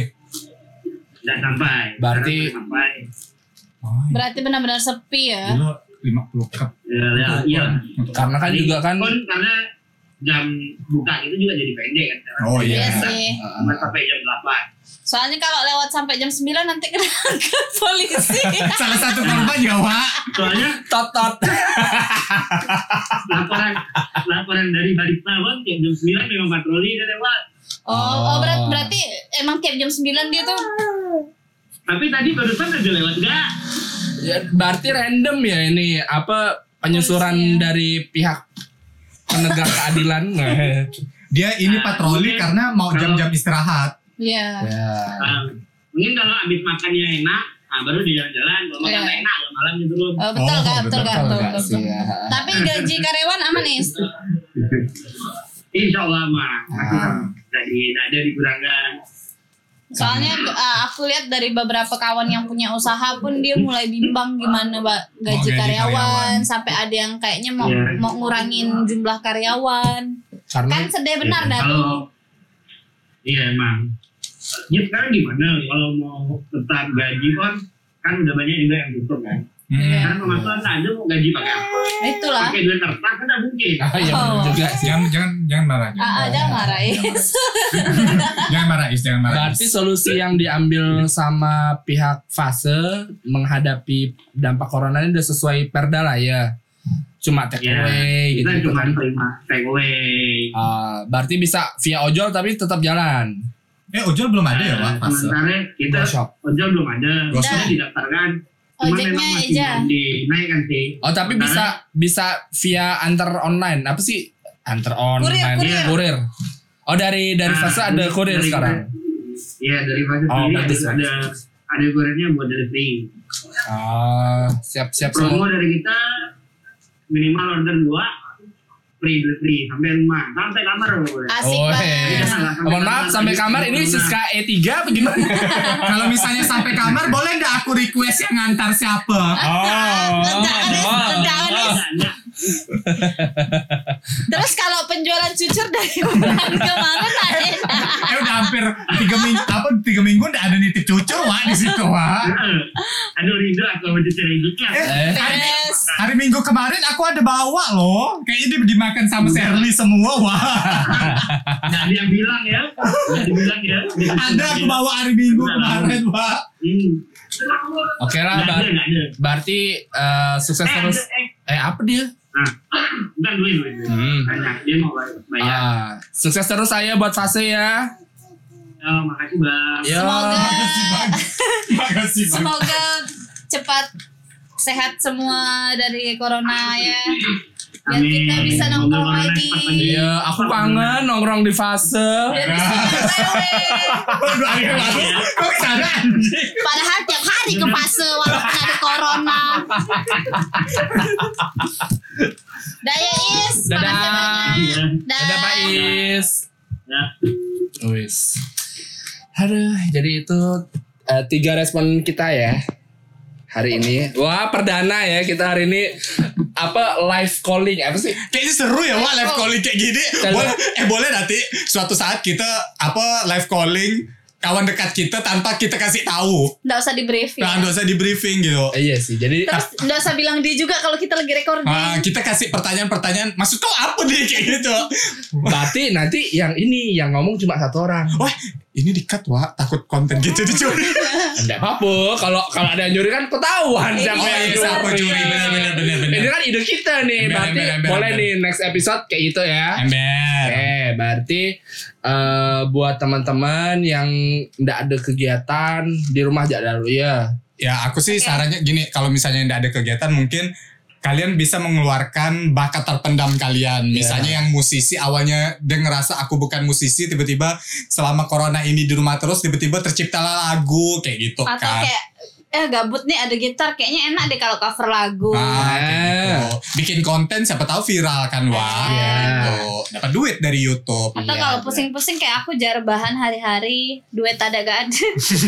Speaker 5: nggak sampai.
Speaker 3: Berarti-
Speaker 5: Nggak sampai.
Speaker 1: Oh,
Speaker 2: Berarti benar-benar sepi ya.
Speaker 1: Dulu 50 cup.
Speaker 5: Ya, ya, iya.
Speaker 3: karena kan [LAUGHS] juga kan
Speaker 5: Kon, karena
Speaker 8: jam buka itu juga jadi pendek kan sekarang.
Speaker 1: Oh
Speaker 2: Iya
Speaker 1: iya.
Speaker 2: sih.
Speaker 8: Cuma sampai jam 8
Speaker 2: Soalnya kalau lewat sampai jam 9 nanti kena [LAUGHS] ke polisi.
Speaker 1: Salah satu korban ya, Wak.
Speaker 8: soalnya
Speaker 3: Totot.
Speaker 8: laporan laporan dari Baris Nawang jam jam 9 memang patroli dan lewat
Speaker 2: Oh, oh berat, berarti emang tiap jam 9 dia tuh
Speaker 8: tapi tadi barusan ada lewat enggak
Speaker 3: Ya, berarti random ya ini apa penyusuran
Speaker 2: Polisi ya.
Speaker 3: dari pihak penegak keadilan. Nah,
Speaker 1: Dia ini patroli karena mau jam-jam istirahat.
Speaker 2: Iya.
Speaker 3: ya.
Speaker 8: Ah, mungkin kalau habis makannya enak ah, baru di jalan-jalan kalau makan
Speaker 2: Iya.
Speaker 8: enak kalau malam gitu loh
Speaker 2: Oh, betul
Speaker 1: Oh,
Speaker 2: kan, betul
Speaker 1: betul
Speaker 2: kan,
Speaker 3: Betul
Speaker 2: betul,
Speaker 3: nggak
Speaker 2: betul.
Speaker 3: sih ya?
Speaker 2: Tapi gaji karyawan aman is.
Speaker 8: Insya Allah mah
Speaker 3: Ah.
Speaker 8: jadi tidak ada dikurangan
Speaker 2: Soalnya eh, aku lihat dari beberapa kawan yang punya usaha pun dia mulai bimbang gimana Mbak,
Speaker 1: Mau
Speaker 2: gaji
Speaker 1: gaji
Speaker 2: karyawan
Speaker 1: karyawan.
Speaker 2: sampai ada yang kayaknya mau
Speaker 8: Iya.
Speaker 2: mau ngurangin jumlah karyawan.
Speaker 3: Karena
Speaker 2: [LAUGHS]
Speaker 3: [LAUGHS]
Speaker 2: Kan sedih benar dah. tuh.
Speaker 8: kalau iya emang ya sekarang gimana kalau mau tetap gaji kan kan udah banyak juga yang tutup kan
Speaker 1: Hmm.
Speaker 5: Iya.
Speaker 2: Iya.
Speaker 8: karena pemasukan tak ada mau gaji pakai apa
Speaker 2: Itulah.
Speaker 8: pakai duit tertak kan tak mungkin
Speaker 4: Iya,
Speaker 3: Ah, ya bener
Speaker 2: Oh.
Speaker 3: juga sih.
Speaker 1: Jangan jangan jangan marah. Jangan
Speaker 2: Ah, ah, jangan
Speaker 8: Iya.
Speaker 2: marah Is.
Speaker 1: Jangan marah, Is, jangan marah.
Speaker 3: Berarti solusi yang diambil sama pihak fase menghadapi dampak corona ini udah sesuai perda lah ya. Cuma take
Speaker 8: Ya,
Speaker 3: away
Speaker 8: kita
Speaker 3: gitu,
Speaker 8: cuma
Speaker 3: kan.
Speaker 8: terima take away
Speaker 3: Ah, berarti bisa via ojol tapi tetap jalan.
Speaker 1: Eh, ojol belum ada ya, Wak?
Speaker 8: Nah,
Speaker 1: Fase.
Speaker 8: sementara kita
Speaker 3: Workshop.
Speaker 8: ojol belum ada
Speaker 1: Gosok.
Speaker 8: sudah didaftarkan cuma
Speaker 2: [LAUGHS] Ojeknya
Speaker 8: memang masih
Speaker 2: aja.
Speaker 8: belum dinaikkan sih
Speaker 3: Oh tapi bisa bisa via antar online apa sih antar online
Speaker 2: Kurir,
Speaker 3: Kurir. Oh dari
Speaker 8: Nah,
Speaker 3: dari fase ada
Speaker 8: dari-
Speaker 3: kurir
Speaker 8: dari
Speaker 3: sekarang.
Speaker 8: Iya dari fase
Speaker 3: Oh,
Speaker 8: sendiri
Speaker 3: bagus,
Speaker 8: ada, ada ada gorengnya buat delivery
Speaker 3: Ah siap siap
Speaker 8: promo
Speaker 3: semua.
Speaker 8: dari kita minimal order dua free delivery sampai rumah sampai kamar loh boleh
Speaker 2: Asik
Speaker 3: Oh,
Speaker 2: banget.
Speaker 3: iya. Mohon maaf sampai kamar ini Siska E3 apa gimana?
Speaker 1: [LAUGHS] Kalau misalnya sampai kamar, boleh nggak aku request yang ngantar siapa?
Speaker 3: Oh.
Speaker 2: Ledak, Anis. Ledak, Anis.
Speaker 8: Enggak, enggak.
Speaker 2: Terus kalau penjualan cucur dari bulan kemarin naik.
Speaker 1: Eh, udah hampir tiga minggu, apa tiga minggu nggak ada nitip cucu, Wak, di situ, Wak.
Speaker 8: Heeh. aduh rindu aku sama cucu rindunya
Speaker 1: Eh, hari,
Speaker 2: Terus
Speaker 1: hari Minggu kemarin aku ada bawa loh. Kayaknya dia dimakan sama Shirley semua, Wak.
Speaker 8: nggak ada yang bilang ya nggak dibilang ya
Speaker 1: Ada aku
Speaker 3: iya.
Speaker 1: bawa hari Minggu kemarin, Wak.
Speaker 8: hmm.
Speaker 3: Oke
Speaker 8: nggak
Speaker 3: lah
Speaker 8: ada
Speaker 3: bar-
Speaker 8: nggak ada
Speaker 3: berarti eh, sukses
Speaker 8: eh
Speaker 3: terus.
Speaker 8: ada eh
Speaker 3: Eh apa dia?
Speaker 8: nah bukan duit duit duit.
Speaker 3: Hmm.
Speaker 8: banyak dia mau bayar bayar
Speaker 3: Ah, sukses terus saya buat fase ya.
Speaker 8: oh, makasih bang
Speaker 3: Ya.
Speaker 2: semoga
Speaker 1: Makasih, Wak.
Speaker 2: semoga cepat sehat semua dari corona ya. Biar kita bisa
Speaker 8: Semoga
Speaker 2: nongkrong
Speaker 8: corona
Speaker 2: lagi.
Speaker 8: cepat ya. pergi.
Speaker 3: Iya, aku kangen nongkrong di fase.
Speaker 2: Biar bisa ngewe.
Speaker 1: Dua hari yang lalu, kok kesana, anjing?
Speaker 2: Padahal tiap hari ke fase walaupun ada corona. Daya ya, Is,
Speaker 3: Dadah.
Speaker 2: makasih banyak.
Speaker 8: Iya.
Speaker 3: Ada Pak Is.
Speaker 8: Ya.
Speaker 3: Wis. Aduh, jadi itu eh, tiga respon kita ya hari ini. Wah, perdana ya kita hari ini apa live calling apa sih?
Speaker 1: Kayaknya seru ya Wak live calling kayak gini.
Speaker 3: Kalau-
Speaker 1: Boleh, eh boleh nanti suatu saat kita apa live calling kawan dekat kita tanpa kita kasih tahu.
Speaker 2: Nggak usah di briefing.
Speaker 1: Nah, nggak usah di briefing gitu.
Speaker 3: Eh, iya sih. Jadi
Speaker 2: Terus nggak usah bilang dia juga kalau kita lagi recording.
Speaker 3: Ah,
Speaker 1: Nah, kita kasih pertanyaan-pertanyaan. Maksud kau apa nih kayak gitu?
Speaker 3: berarti nanti yang ini yang ngomong cuma satu orang.
Speaker 1: Wah, ini dikat Wak. Takut konten gitu dicuri.
Speaker 3: Enggak apa-apa. Kalau kalau ada yang nyuri kan ketahuan siapa
Speaker 1: Oh
Speaker 3: yang
Speaker 1: iya,
Speaker 3: nyuri.
Speaker 1: siapa curi? Benar, benar, benar, benar.
Speaker 3: Ini kan ide kita nih.
Speaker 1: Ember,
Speaker 3: berarti
Speaker 1: ember, ember,
Speaker 3: boleh
Speaker 1: ember.
Speaker 3: nih next episode kayak gitu ya.
Speaker 1: Ember.
Speaker 3: Oke, berarti eh, buat teman-teman yang ndak ada kegiatan di rumah aja dulu ya.
Speaker 1: Ya, aku sih
Speaker 2: Oke.
Speaker 1: sarannya gini. Kalau misalnya nggak ada kegiatan mungkin kalian bisa mengeluarkan bakat terpendam kalian. Misalnya yang musisi awalnya dia ngerasa aku bukan musisi, tiba-tiba selama corona ini di rumah terus tiba-tiba terciptalah lagu kayak gitu
Speaker 2: Atau
Speaker 1: kan.
Speaker 2: kayak eh gabut nih ada gitar kayaknya enak deh kalau cover lagu.
Speaker 1: Ah, kayak gitu. Bikin konten siapa tahu viral kan wah
Speaker 2: Iya.
Speaker 1: gitu. Dapat duit dari YouTube.
Speaker 2: Atau
Speaker 3: Iya,
Speaker 2: kalau
Speaker 3: benar.
Speaker 2: pusing-pusing kayak aku jar bahan hari-hari duet ada gak ada.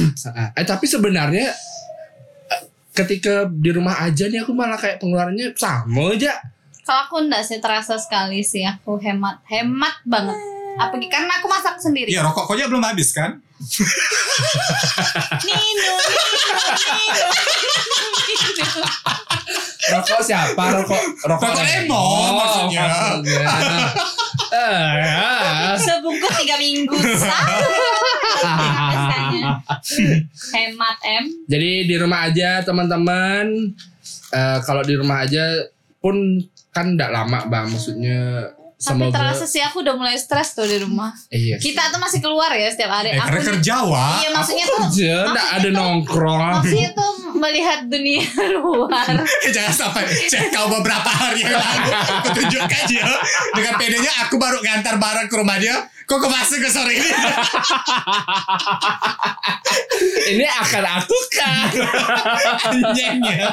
Speaker 2: [LAUGHS]
Speaker 3: Eh tapi sebenarnya eh, ketika di rumah aja nih aku malah kayak pengeluarannya sama aja.
Speaker 2: kalau aku nggak sih terasa sekali sih aku hemat hemat banget. Apalagi karena aku masak sendiri.
Speaker 1: Iya rokok koknya belum habis kan?
Speaker 2: Nino, Nino, Nino, Nino.
Speaker 3: Rokok siapa? Rokok
Speaker 1: Rokok Lemon, maksudnya.
Speaker 3: maksudnya. Ah,
Speaker 2: [LAUGHS]
Speaker 9: Sebungkus tiga
Speaker 3: [LAUGHS]
Speaker 9: minggu.
Speaker 3: Iya,
Speaker 9: Sama.
Speaker 2: Hemat M.
Speaker 3: Jadi di rumah aja teman-teman. Eh, kalau di rumah aja pun kan tidak lama bang, maksudnya
Speaker 2: Tapi
Speaker 3: semoga.
Speaker 2: terasa sih aku udah mulai stres tuh di rumah.
Speaker 3: Eh, iya.
Speaker 2: Kita tuh masih keluar ya setiap hari.
Speaker 1: Eh, karena kerja wah.
Speaker 2: Iya maksudnya tuh
Speaker 3: Kerja, nggak Ya, ada
Speaker 2: maksudnya tuh-
Speaker 3: nongkrong.
Speaker 2: [LAUGHS] maksudnya tuh melihat dunia [LAUGHS] luar.
Speaker 1: Eh, Jangan sampai cek kau beberapa hari yang lalu aku tunjukkan dia dengan pedenya aku baru ngantar barang ke rumah dia. Kok kemasin ke sore ini? [LAUGHS]
Speaker 3: Ini akan aku kan.
Speaker 1: Anjingnya.